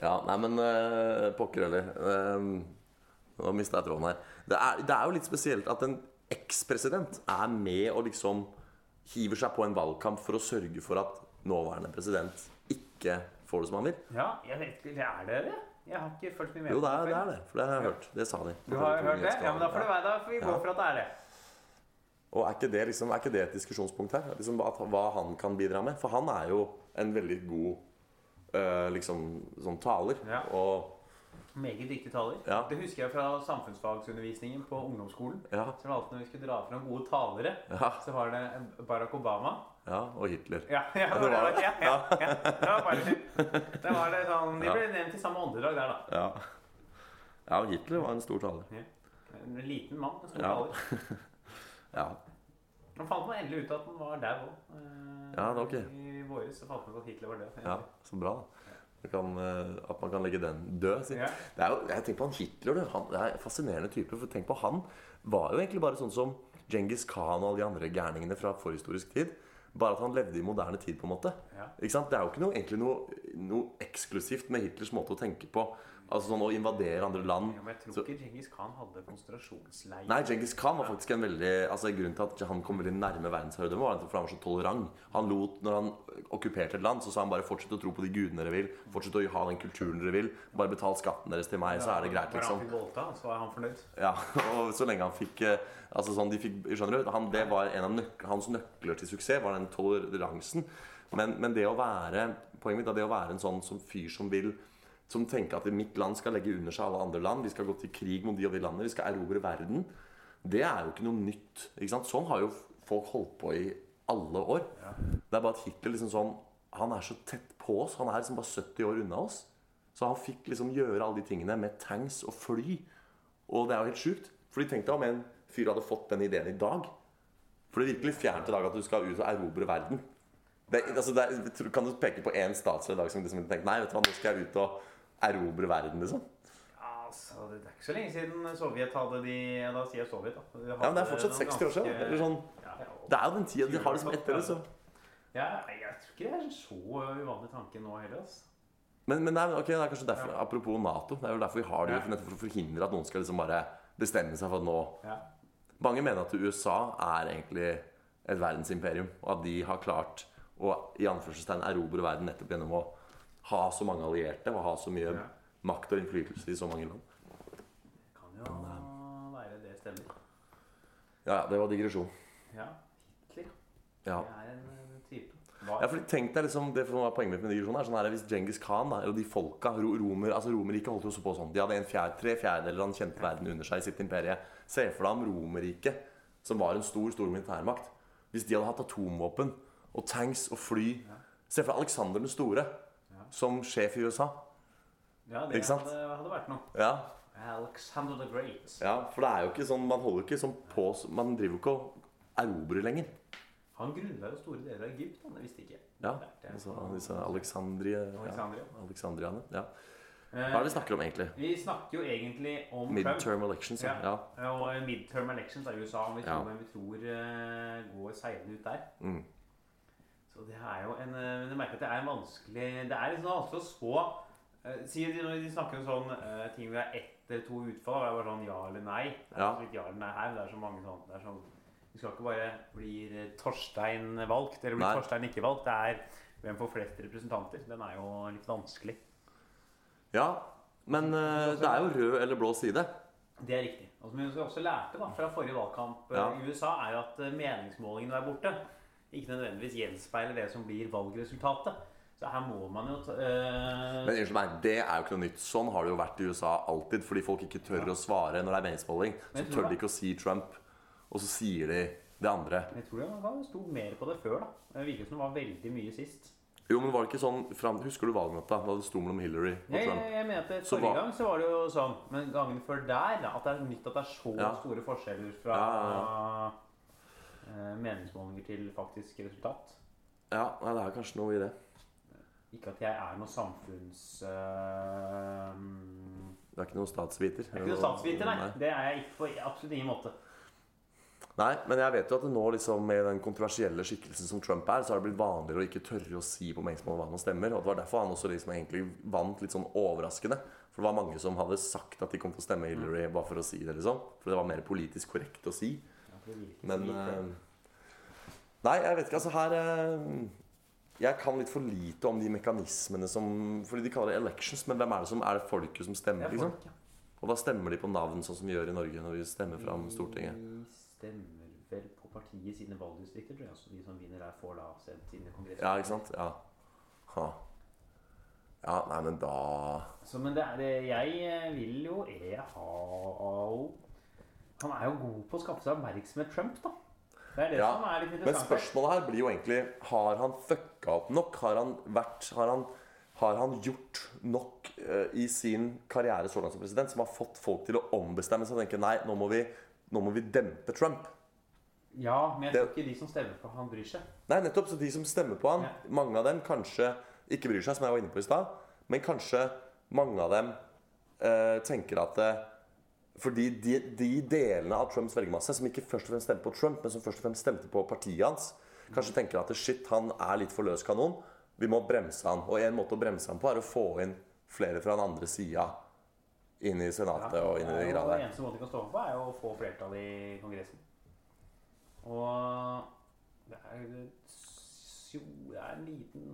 Speaker 2: ja. Nei, men eh, pokker heller. Eh, nå mista jeg tråden her. Det er, det er jo litt spesielt at en ekspresident er med og liksom hiver seg på en valgkamp for å sørge for at nåværende president ikke får det som han vil.
Speaker 3: Ja, jeg vet ikke, det er det det? Jeg har ikke fulgt mye med.
Speaker 2: Jo,
Speaker 3: på
Speaker 2: det er det,
Speaker 3: før.
Speaker 2: er det. For det har jeg hørt. Det sa de.
Speaker 3: Du har hørt det? Ja, men da får, det være, da får vi gå
Speaker 2: Ja.
Speaker 3: for at det er det.
Speaker 2: Og er ikke det, liksom, er ikke det et diskusjonspunkt her? Liksom, at, hva han kan bidra med? For han er jo en veldig god eh, liksom, sånn taler.
Speaker 3: Ja.
Speaker 2: Og
Speaker 3: Meget dyktig taler.
Speaker 2: Ja.
Speaker 3: Det husker jeg fra samfunnsfagsundervisningen på ungdomsskolen.
Speaker 2: ja,
Speaker 3: Så var det alltid når vi skulle dra fram gode talere,
Speaker 2: ja,
Speaker 3: så var det Barack Obama.
Speaker 2: ja, og Hitler.
Speaker 3: Ja, ja, det
Speaker 2: var
Speaker 3: var,
Speaker 2: det.
Speaker 3: ja, ja, ja. Det var bare det var det sånn, De ble nevnt i samme åndedrag der, da.
Speaker 2: Ja. ja, og Hitler var en stor taler.
Speaker 3: En liten mann. En stor
Speaker 2: Ja.
Speaker 3: taler.
Speaker 2: Ja.
Speaker 3: Man fant man endelig ut at han var der òg.
Speaker 2: Ja, det er ok.
Speaker 3: I våres så fant man ut at Hitler var død.
Speaker 2: ja, så bra, da. Du kan, eh, at man kan legge den død. sier-
Speaker 3: Ja.
Speaker 2: Det er jo, jeg tenker på han Hitler, du. Han, det er en fascinerende type. For tenk på han var jo egentlig bare sånn som Genghis Khan og alle de andre gærningene fra forhistorisk tid. Bare at han levde i moderne tid, på en måte.
Speaker 3: Ja.
Speaker 2: Ikke sant? Det er jo ikke noe, egentlig noe, noe eksklusivt med Hitlers måte å tenke på. Altså sånn å invadere andre land.
Speaker 3: Ja, men jeg tror
Speaker 2: Så-
Speaker 3: ikke Djengis Khan hadde konsentrasjonsleir.
Speaker 2: Nei, Genghis Khan var faktisk en veldig Altså Grunnen til at han kom veldig nærme verdensherredømmet, var at han var så tolerant. Han lot, Når han okkuperte et land, så sa han bare 'fortsett å tro på de gudene dere vil', 'fortsett å ha den kulturen dere vil', 'bare betal skatten deres til meg, så er det greit',
Speaker 3: Bare
Speaker 2: liksom.
Speaker 3: han fikk voldta, så var han fornøyd.
Speaker 2: Ja, og så lenge han fikk eh, Altså sånn, de fikk, skjønner du, han, Det var en av nøk hans nøkler til suksess, var den toleransen. Men, men det å være poenget mitt er det å være en sånn som fyr som vil Som tenker at mitt land skal legge under seg alle andre land. Vi skal gå til krig mot de og de landene. Vi skal erobre verden. Det er jo ikke noe nytt. ikke sant? Sånn har jo folk holdt på i alle år. Det er bare at Hitler liksom sånn Han er så tett på oss. Han er liksom bare 70 år unna oss. Så han fikk liksom gjøre alle de tingene med tanks og fly. Og det er jo helt sjukt. Fordi tenk deg om en fyr hadde fått den ideen i dag. For det virker litt fjernt i dag at du skal ut og erobre verden. Det, altså det, er- tror- kan du peke på én statsleder i dag som liksom tenker Nei, vet du hva, nå skal jeg ut og erobre verden, liksom.
Speaker 3: Altså, det er ikke så lenge siden Sovjet hadde de Ja, da sier jeg Sovjet, da.
Speaker 2: Ja, men det er fortsatt 60 år siden. Eller sånn,
Speaker 3: Ja, ja.
Speaker 2: det er jo den tida de har liksom etter det, så
Speaker 3: Ja, nei, jeg tror ikke det er en så uvanlig tanke nå heller. altså. ass.
Speaker 2: Men, men det, er, ok, det er kanskje derfor, apropos Nato. Det er vel derfor vi har det,
Speaker 3: Ja.
Speaker 2: nettopp for å forhindre at noen skal liksom bare bestemme seg for at nå
Speaker 3: Ja.
Speaker 2: Mange mener at USA er egentlig et verdensimperium, og at de har klart å i anførselstegn erobre verden nettopp gjennom å ha så mange allierte og ha så mye
Speaker 3: Ja.
Speaker 2: makt og innflytelse i så mange land.
Speaker 3: Kan jo være det stemmer.
Speaker 2: Ja, ja, det var digresjon.
Speaker 3: Ja. Hitler
Speaker 2: Ja.
Speaker 3: det er en eh, type. Var-
Speaker 2: Ja, fordi tenk deg liksom, Det som var poenget mitt med digresjonen er sånn her, Hvis Genghis Khan da, eller de folka, ro, romer, altså Romerriket holdt jo også på sånn. De hadde en fjerde, tre fjerdedeler av den kjente verden under seg i sitt imperie. Se for deg om Romerriket, som var en stor stor militærmakt, hvis de hadde hatt atomvåpen og tanks og fly Se for deg Alexander den store som sjef i USA.
Speaker 3: ja, det
Speaker 2: ikke sant?
Speaker 3: Hadde, hadde vært noe.
Speaker 2: Ja,
Speaker 3: Alexander the Great.
Speaker 2: ja For det er jo ikke sånn Man holder jo ikke sånn på Man driver jo ikke og erobrer lenger.
Speaker 3: Han grunnla jo store deler av Egypt, han, det visste ikke jeg.
Speaker 2: Ja,
Speaker 3: Lærte jeg.
Speaker 2: altså disse Alexandrie... Ja,
Speaker 3: Alexandria.
Speaker 2: Alexandriane. Ja.
Speaker 3: Eh,
Speaker 2: Hva er det vi snakker om, egentlig?
Speaker 3: Vi snakker jo egentlig om Trump.
Speaker 2: Midterm elections, ja. ja.
Speaker 3: Ja, og eh, midterm elections er i USA, om vi
Speaker 2: Ja.
Speaker 3: tror, men vi tror eh, går seilende ut der.
Speaker 2: Mm.
Speaker 3: Så det er jo en eh, Men jeg merker at det er en vanskelig Det er litt sånn vanskelig å spå eh, Si de, når de snakker om sånn eh, ting hvor det er ett eller to utfall, og det er bare sånn ja eller nei. Det er
Speaker 2: Ja.
Speaker 3: så litt ja eller nei her, men det er så mange sånne det er sånn, Vi skal ikke bare blir eh, Torstein valgt, eller
Speaker 2: Nei.
Speaker 3: blir Torstein ikke valgt. Det er hvem får flest representanter. Den er jo litt vanskelig.
Speaker 2: Ja, men eh, det er jo rød eller blå side.
Speaker 3: Det er riktig. Og som vi også lærte da, fra forrige valgkamp eh,
Speaker 2: Ja.
Speaker 3: i USA, er jo at eh, meningsmålingene der borte ikke nødvendigvis gjenspeiler det som blir valgresultatet. Så her må man jo ta, eh,
Speaker 2: Men unnskyld meg, det er jo ikke noe nytt. Sånn har det jo vært i USA alltid. Fordi folk ikke tør å svare når det er meningsmåling. Så
Speaker 3: Men tror
Speaker 2: tør
Speaker 3: du-
Speaker 2: de ikke å si Trump, og så sier de det andre.
Speaker 3: Jeg tror det var- sto mer på det før. da. Det virket som det var veldig mye sist.
Speaker 2: Jo, men var det ikke sånn fram, Husker du valgnatta, da det sto mellom Hillary og
Speaker 3: Jeg,
Speaker 2: Trump?
Speaker 3: jeg, jeg mener at det-
Speaker 2: Så
Speaker 3: Forrige
Speaker 2: hva-
Speaker 3: gang så var det jo sånn, men gangen før der da, At det er nytt at det er så
Speaker 2: Ja.
Speaker 3: store forskjeller fra
Speaker 2: Ja,
Speaker 3: eh, meningsmålinger til faktisk resultat.
Speaker 2: Ja, nei, det er kanskje noe i det.
Speaker 3: Ikke at jeg er noe samfunns... eh,
Speaker 2: Det er ikke noe statsviter.
Speaker 3: Jeg er ikke noen statsviter, nei. Det er jeg ikke på absolutt ingen måte.
Speaker 2: Nei, men jeg vet jo at det nå liksom med den kontroversielle skikkelsen som Trump er, så har det blitt vanligere å ikke tørre å si på meningsmålene hva man stemmer. Og det var derfor han også liksom egentlig vant litt sånn overraskende. For det var mange som hadde sagt at de kom til å stemme Hillary bare for å si det, liksom. For det var mer politisk korrekt å si. Men eh, Nei, jeg vet ikke. Altså, her eh, Jeg kan litt for lite om de mekanismene som Fordi de kaller det elections, men hvem er det som Er det folket som
Speaker 3: Det
Speaker 2: stemmer,
Speaker 3: er
Speaker 2: liksom?
Speaker 3: folk, ja.
Speaker 2: Og da stemmer de på navn, sånn som vi gjør i Norge når vi stemmer fram Stortinget.
Speaker 3: De stemmer vel på partiet sine valgdistrikter, tror jeg. Så de som vinner der, får da sendt sine kongresser.
Speaker 2: Ja, ikke sant? Ja. Ha. Ja, nei, men da
Speaker 3: Så, men det er det Jeg eh, vil jo Jeg har Han er jo god på å skaffe seg oppmerksomhet, Trump, da. Det er det
Speaker 2: Ja,
Speaker 3: som Sånn er litt
Speaker 2: Men
Speaker 3: interessant. her.
Speaker 2: spørsmålet her blir jo egentlig Har han fucka opp nok? Har han vært Har han, har han gjort nok eh, i sin karriere så langt som president som har fått folk til å ombestemme seg og tenke nei, nå må vi, nå må vi dempe Trump?
Speaker 3: Ja, men jeg tror
Speaker 2: Det-
Speaker 3: ikke de som stemmer på han, bryr seg.
Speaker 2: Nei, nettopp. Så de som stemmer på han,
Speaker 3: Ja.
Speaker 2: mange av dem kanskje ikke bryr seg, som jeg var inne på i stad, men kanskje mange av dem eh, tenker at eh, fordi de, de delene av Trumps velgermasse som ikke først og fremst stemte på Trump, men som først og fremst stemte på partiet hans, kanskje tenker at shit, han er litt for løs kanon. Vi må bremse han. Og en måte å bremse han på er å få inn flere fra den andre sida inn i Senatet og inn i de
Speaker 3: Ja,
Speaker 2: grader.
Speaker 3: og eneste måten de kan stå på, er jo å få flertall i Kongressen. Og det er jo det er en liten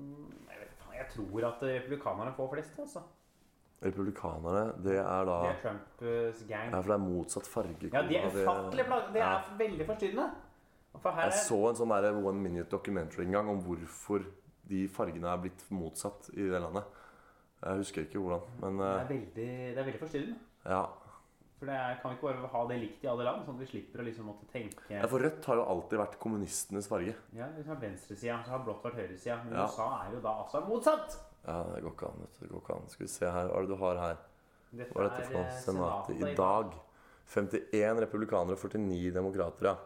Speaker 3: Jeg vet faen, jeg tror at republikanerne får flest, altså.
Speaker 2: Republikanerne, det er da
Speaker 3: Det er Trumps gang.
Speaker 2: Ja, for det er motsatt farge.
Speaker 3: Ja, de er
Speaker 2: av det-
Speaker 3: ufattelig plagg. Det
Speaker 2: Ja.
Speaker 3: er veldig forstyrrende. For her
Speaker 2: Jeg
Speaker 3: er
Speaker 2: så en sånn der One Minute Documentary en gang om hvorfor de fargene er blitt motsatt i det landet. Jeg husker ikke hvordan, men
Speaker 3: det
Speaker 2: eh,
Speaker 3: er veldig, det er veldig forstyrrende.
Speaker 2: ja.
Speaker 3: For det er, kan vi ikke bare ha det likt i alle land, sånn at vi slipper å liksom måtte tenke
Speaker 2: ja. For rødt har jo alltid vært kommunistenes farge.
Speaker 3: Ja, liksom har venstresida, så har blått vært høyresida. Men
Speaker 2: Ja.
Speaker 3: USA er jo da altså motsatt!
Speaker 2: Ja, det går ikke an. vet du, det går ikke an. Skal vi se her, Hva er det du har her?
Speaker 3: Dette
Speaker 2: Hva er dette for
Speaker 3: eh,
Speaker 2: noe? Senatet i dag. 51 republikanere og 49 demokrater, ja.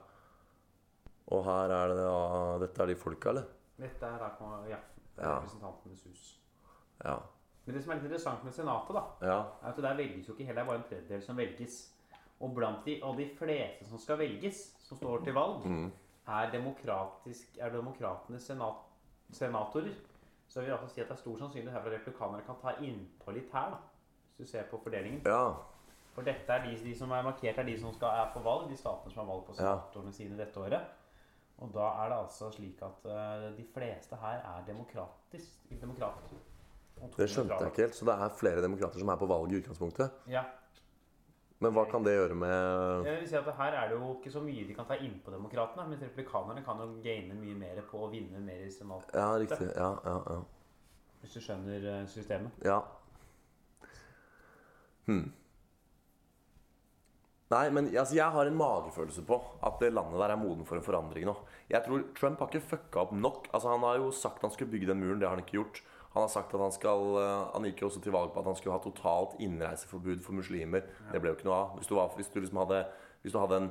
Speaker 2: Og her er det da Dette er de folka, eller?
Speaker 3: Dette er da, kom- ja, det er
Speaker 2: Ja.
Speaker 3: representantenes hus.
Speaker 2: Ja.
Speaker 3: Men det som er litt interessant med Senatet, da,
Speaker 2: ja.
Speaker 3: er at der velges jo ikke heller bare en tredjedel som velges. Og blant de, og de fleste
Speaker 2: Mm.
Speaker 3: som skal velges, som står til valg, er, demokratisk, er demokratenes senat senatorer, så vil jeg altså si at det er stor sannsynlighet her for at republikanere kan ta innpå litt her. da, Hvis du ser på fordelingen.
Speaker 2: Ja.
Speaker 3: For dette er de, de som er markert, er de som skal, er på valg. De statene som har valg på
Speaker 2: Ja.
Speaker 3: senatorene sine dette året. Og da er det altså slik at eh, de fleste her er demokratisk, demokrater. Og
Speaker 2: Det skjønte jeg ikke helt. Så det er flere demokrater som er på valg i utgangspunktet.
Speaker 3: Ja.
Speaker 2: Men hva kan det gjøre med
Speaker 3: Jeg vil si at Her er det jo ikke så mye de kan ta innpå demokratene. Mens republikanerne kan jo gaine mye mer på å vinne mer i senat,
Speaker 2: Ja, riktig. Ja, ja, ja.
Speaker 3: hvis du skjønner eh, systemet.
Speaker 2: ja. Hm. Nei, men altså, jeg har en magefølelse på at det landet der er moden for en forandring nå. Jeg tror Trump har ikke fucka opp nok. Altså, han har jo sagt han skulle bygge den muren. Det har han ikke gjort. Han har sagt at han skal eh, Han gikk jo også til valg på at han skulle ha totalt innreiseforbud for muslimer. Det ble jo ikke noe av. Hvis du, var, hvis du liksom hadde, hvis du hadde en,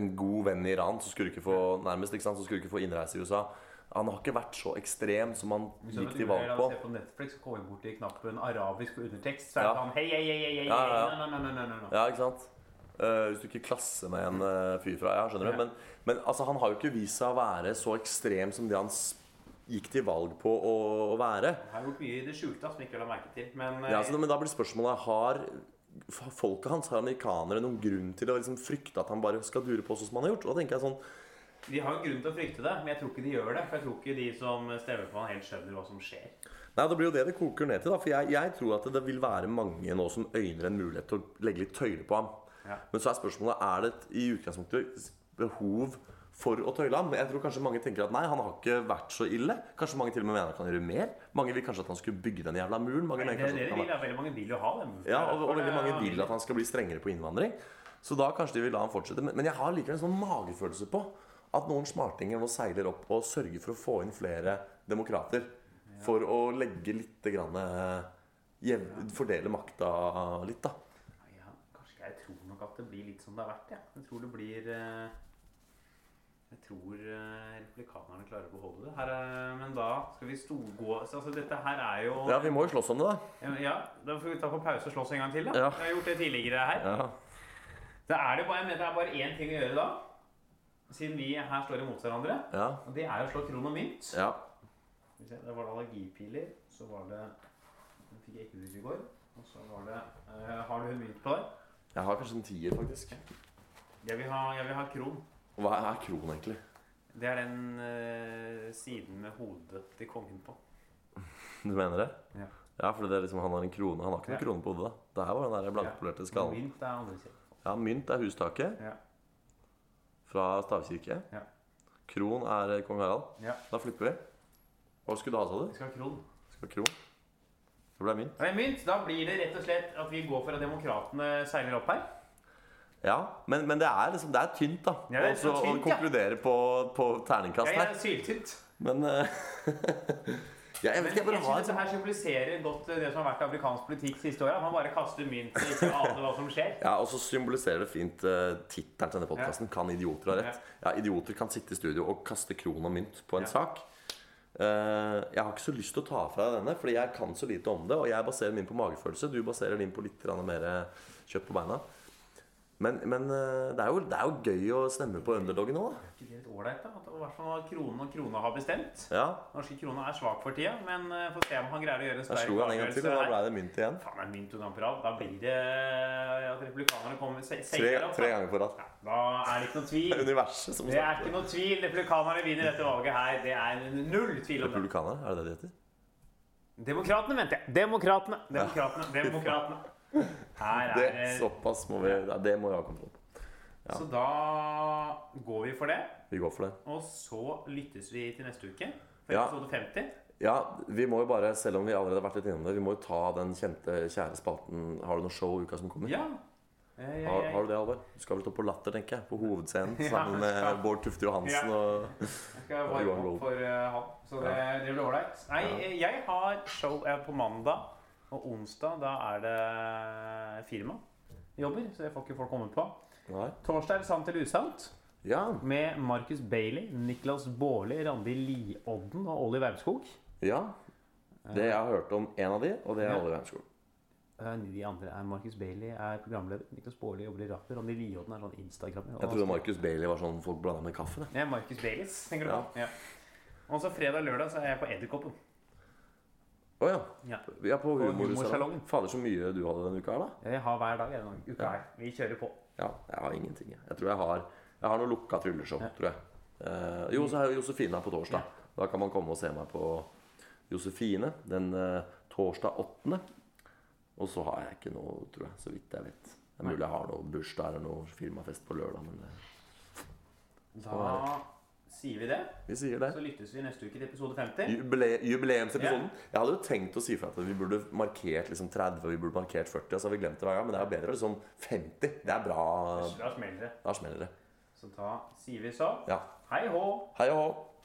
Speaker 2: en god venn i Iran, så skulle du ikke få nærmest, ikke sant? Så skulle du ikke få innreise i USA. Han har ikke vært så ekstrem som han gikk til valg på.
Speaker 3: ser på Netflix, så kommer vi borti knappen 'arabisk' på undertekst. Så er
Speaker 2: Ja.
Speaker 3: det sånn hei, hei, hei, hei, hei,
Speaker 2: Ja, ja, ja.
Speaker 3: nei, nei, nei, nei, nei, nei.
Speaker 2: Ja, ikke sant? Eh, hvis du ikke klasser med en eh, fyr fra Ja, skjønner du?
Speaker 3: Ja.
Speaker 2: Men, men altså, han har jo ikke vist seg å være så ekstrem som det han s- gikk til valg på å, å være.
Speaker 3: har gjort mye i det skjulte som ikke la merke til. Men
Speaker 2: Ja, så, men da blir spørsmålet Har f- folket hans, har amerikanere, noen grunn til å liksom frykte at han bare skal dure på sånn som han har gjort? Og da tenker jeg sånn
Speaker 3: de har jo grunn til å frykte det, men jeg tror ikke de gjør det. For jeg tror ikke de som stemmer på han helt skjønner hva som skjer.
Speaker 2: Nei, Det blir jo det det koker ned til. da For jeg, jeg tror at det vil være mange nå som øyner en mulighet til å legge litt tøyle på ham.
Speaker 3: Ja.
Speaker 2: Men så er spørsmålet er det et- i utgangspunktet s- behov for å tøyle ham. Men Jeg tror kanskje mange tenker at nei, han har ikke vært så ille. Kanskje mange til og med mener at han kan gjøre mer. Mange vil kanskje at han skulle bygge den jævla muren. Mange
Speaker 3: Det
Speaker 2: mener
Speaker 3: er det de
Speaker 2: kanskje sånn at han
Speaker 3: vil. ja. Veldig mange vil jo ha dem.
Speaker 2: ja, og, og veldig mange vil at han skal bli strengere på innvandring. Så da kanskje de vil la han fortsette. Men, men jeg har likevel en sånn magefølelse på at noen smartinger nå seiler opp og sørger for å få inn flere demokrater. For å legge litt grann, eh, jevn- Fordele makta litt, da.
Speaker 3: ja, Kanskje jeg tror nok at det blir litt som det har vært, ja. Jeg tror det blir eh, Jeg tror eh, republikanerne klarer å beholde det. Her, eh, men da skal vi storgå så, Altså, dette her er jo
Speaker 2: Ja, vi må jo slåss om det, da.
Speaker 3: Ja, da får vi ta på pause og slåss en gang til, da.
Speaker 2: Ja.
Speaker 3: Jeg har gjort det tidligere her.
Speaker 2: Ja.
Speaker 3: Da er det bare, jeg mener, det er bare én ting å gjøre da, siden vi her står imot hverandre.
Speaker 2: Ja.
Speaker 3: Og det er å slå kron og mynt.
Speaker 2: ja.
Speaker 3: Skal vi se, Da var det allergipiler, så var det Den fikk jeg ikke ut i går. Og så var det eh, Har du en mynt på deg?
Speaker 2: Jeg har kanskje en tier, faktisk.
Speaker 3: Jeg vil ha, jeg vil ha kron.
Speaker 2: Hva er kron, egentlig?
Speaker 3: Det er den eh, siden med hodet til kongen på.
Speaker 2: Du mener det?
Speaker 3: Ja.
Speaker 2: Ja, fordi det er liksom, han har en krone. Han har ikke noen
Speaker 3: Ja.
Speaker 2: krone på hodet. da. Det her var den der blankpolerte skallen.
Speaker 3: Mynt er andre siden.
Speaker 2: Ja, mynt er hustaket
Speaker 3: Ja.
Speaker 2: fra stavkirke.
Speaker 3: Ja.
Speaker 2: Kron er eh, kong Harald.
Speaker 3: Ja.
Speaker 2: Da flipper vi. Hva skulle du ha, sa
Speaker 3: Vi skal ha kron.
Speaker 2: du? Skal kron? Det ble mynt.
Speaker 3: Og det er mynt. Da blir det rett og slett at vi går for at demokratene seiler opp her.
Speaker 2: Ja, men, men det er liksom, det er tynt, da.
Speaker 3: Ja, det er
Speaker 2: Også
Speaker 3: så
Speaker 2: å
Speaker 3: tynt, ja.
Speaker 2: konkludere på, på terningkast
Speaker 3: Jeg
Speaker 2: her.
Speaker 3: er syltynt.
Speaker 2: Men eh, ja, Jeg
Speaker 3: Men
Speaker 2: vet
Speaker 3: jeg
Speaker 2: ikke, jeg bare har
Speaker 3: synes
Speaker 2: et
Speaker 3: dette her symboliserer godt det som har vært amerikansk politikk siste året. Man bare kaster mynt og ikke aner hva som skjer.
Speaker 2: Ja, og så symboliserer det fint uh, tittelen til denne podkasten. Kan idioter ha rett? Ja, idioter kan sitte i studio og kaste kron og mynt på en
Speaker 3: Ja.
Speaker 2: sak. Eh, jeg har ikke så lyst til å ta fra deg denne, Fordi jeg kan så lite om det. Og jeg baserer min på magefølelse, du baserer din på litt grann mer eh, kjøtt på beina. Men, men eh, det, er jo, det er jo gøy å stemme på underdogen nå, da.
Speaker 3: Er ikke det litt ålreit, da? At i hvert fall kronen og krona har bestemt.
Speaker 2: Ja,
Speaker 3: Norske krona er svak for tida, men eh, får se om han greier å gjøre en
Speaker 2: Der
Speaker 3: sterk
Speaker 2: slo han en gang til,
Speaker 3: avgjørelse
Speaker 2: og da
Speaker 3: her.
Speaker 2: ble det mynt igjen.
Speaker 3: Faen, det er mynt unna Prav. Da blir det eh, at republikanerne kommer se-
Speaker 2: Tre,
Speaker 3: seiler opp.
Speaker 2: tre
Speaker 3: Da.
Speaker 2: ganger på rad.
Speaker 3: Ja, da er det ikke noe
Speaker 2: Det er
Speaker 3: tvil.
Speaker 2: universet som
Speaker 3: Det er ikke noe tvil. Republikanerne vinner dette valget her. Det er null tvil om det.
Speaker 2: Republikanere, er det det de heter?
Speaker 3: Demokratene, mente jeg. Demokratene. Demokratene. Demokratene. Her
Speaker 2: Det,
Speaker 3: er det
Speaker 2: såpass må vi ja, Det må jeg ha kontroll på.
Speaker 3: Så da går vi for det.
Speaker 2: Vi går for det.
Speaker 3: Og så lyttes vi til neste uke. For
Speaker 2: Ja.
Speaker 3: episode 50.
Speaker 2: Ja, vi må jo bare, selv om vi allerede har vært litt innom det, vi må jo ta den kjente, kjære spalten Har du noe show i uka som kommer?
Speaker 3: Ja. Eh, jeg-
Speaker 2: Mm. Har,
Speaker 3: jeg-
Speaker 2: har du det, Alvar? Du skal vel stå på Latter, tenker jeg. På hovedscenen
Speaker 3: Ja,
Speaker 2: sammen med
Speaker 3: skal.
Speaker 2: Bård Tufte Johansen
Speaker 3: Ja.
Speaker 2: og
Speaker 3: jeg skal
Speaker 2: Ja,
Speaker 3: varme
Speaker 2: Johan
Speaker 3: opp for eh, han. Så det, det blir ålreit. Nei,
Speaker 2: Ja.
Speaker 3: eh, jeg har show eh, på mandag. Og onsdag, da er det eh, firma. Jobber, så det får ikke folk komme på.
Speaker 2: Nei.
Speaker 3: Torsdag er det Sant eller usant
Speaker 2: Ja.
Speaker 3: med Marcus Bailey, Niklas Baarli, Randi Liodden og Olli Wermskog.
Speaker 2: ja. Det jeg har hørt om én av de, og det er
Speaker 3: Ja.
Speaker 2: Oliver Heimskog.
Speaker 3: Eh, De andre er Marcus Bailey er programleder, Niklas Baarli jobber i radio, Randi Liodden er sånn Instagram.
Speaker 2: Jeg trodde Marcus Bailey var sånn folk blanda med kaffe. Det.
Speaker 3: Ja, Marcus Baileys, tenker du
Speaker 2: Ja.
Speaker 3: på? Ja. Og så fredag og lørdag så er jeg på Edderkoppen.
Speaker 2: Å ja.
Speaker 3: Ja.
Speaker 2: ja. På humorsalongen.
Speaker 3: humorsalongen.
Speaker 2: Fader, så mye du hadde denne uka her, da.
Speaker 3: Jeg har hver dag jeg, denne uka her. Vi kjører på.
Speaker 2: Ja, jeg har ingenting. Jeg, jeg tror jeg har Jeg har noe lukka trylleshow, tror jeg. Eh, jo, så har jeg Josefine her på torsdag. Da kan man komme og se meg på Josefine den eh, torsdag 8. Og så har jeg ikke noe, tror jeg, så vidt jeg vet. Det er mulig jeg har noe bursdag eller noe firmafest på lørdag, men eh,
Speaker 3: Da sier vi det.
Speaker 2: vi sier det.
Speaker 3: Så lyttes vi neste uke til episode 50.
Speaker 2: Jubile jubileumsepisoden. Jeg hadde jo tenkt å si fra at vi burde markert liksom 30 og vi burde markert 40. Og så har vi glemt det hver gang, men det er jo bedre. Liksom 50. Det er bra.
Speaker 3: Da smeller det.
Speaker 2: Da smeller det.
Speaker 3: Så da sier vi så.
Speaker 2: Ja.
Speaker 3: Hei hå!
Speaker 2: Hei og hå.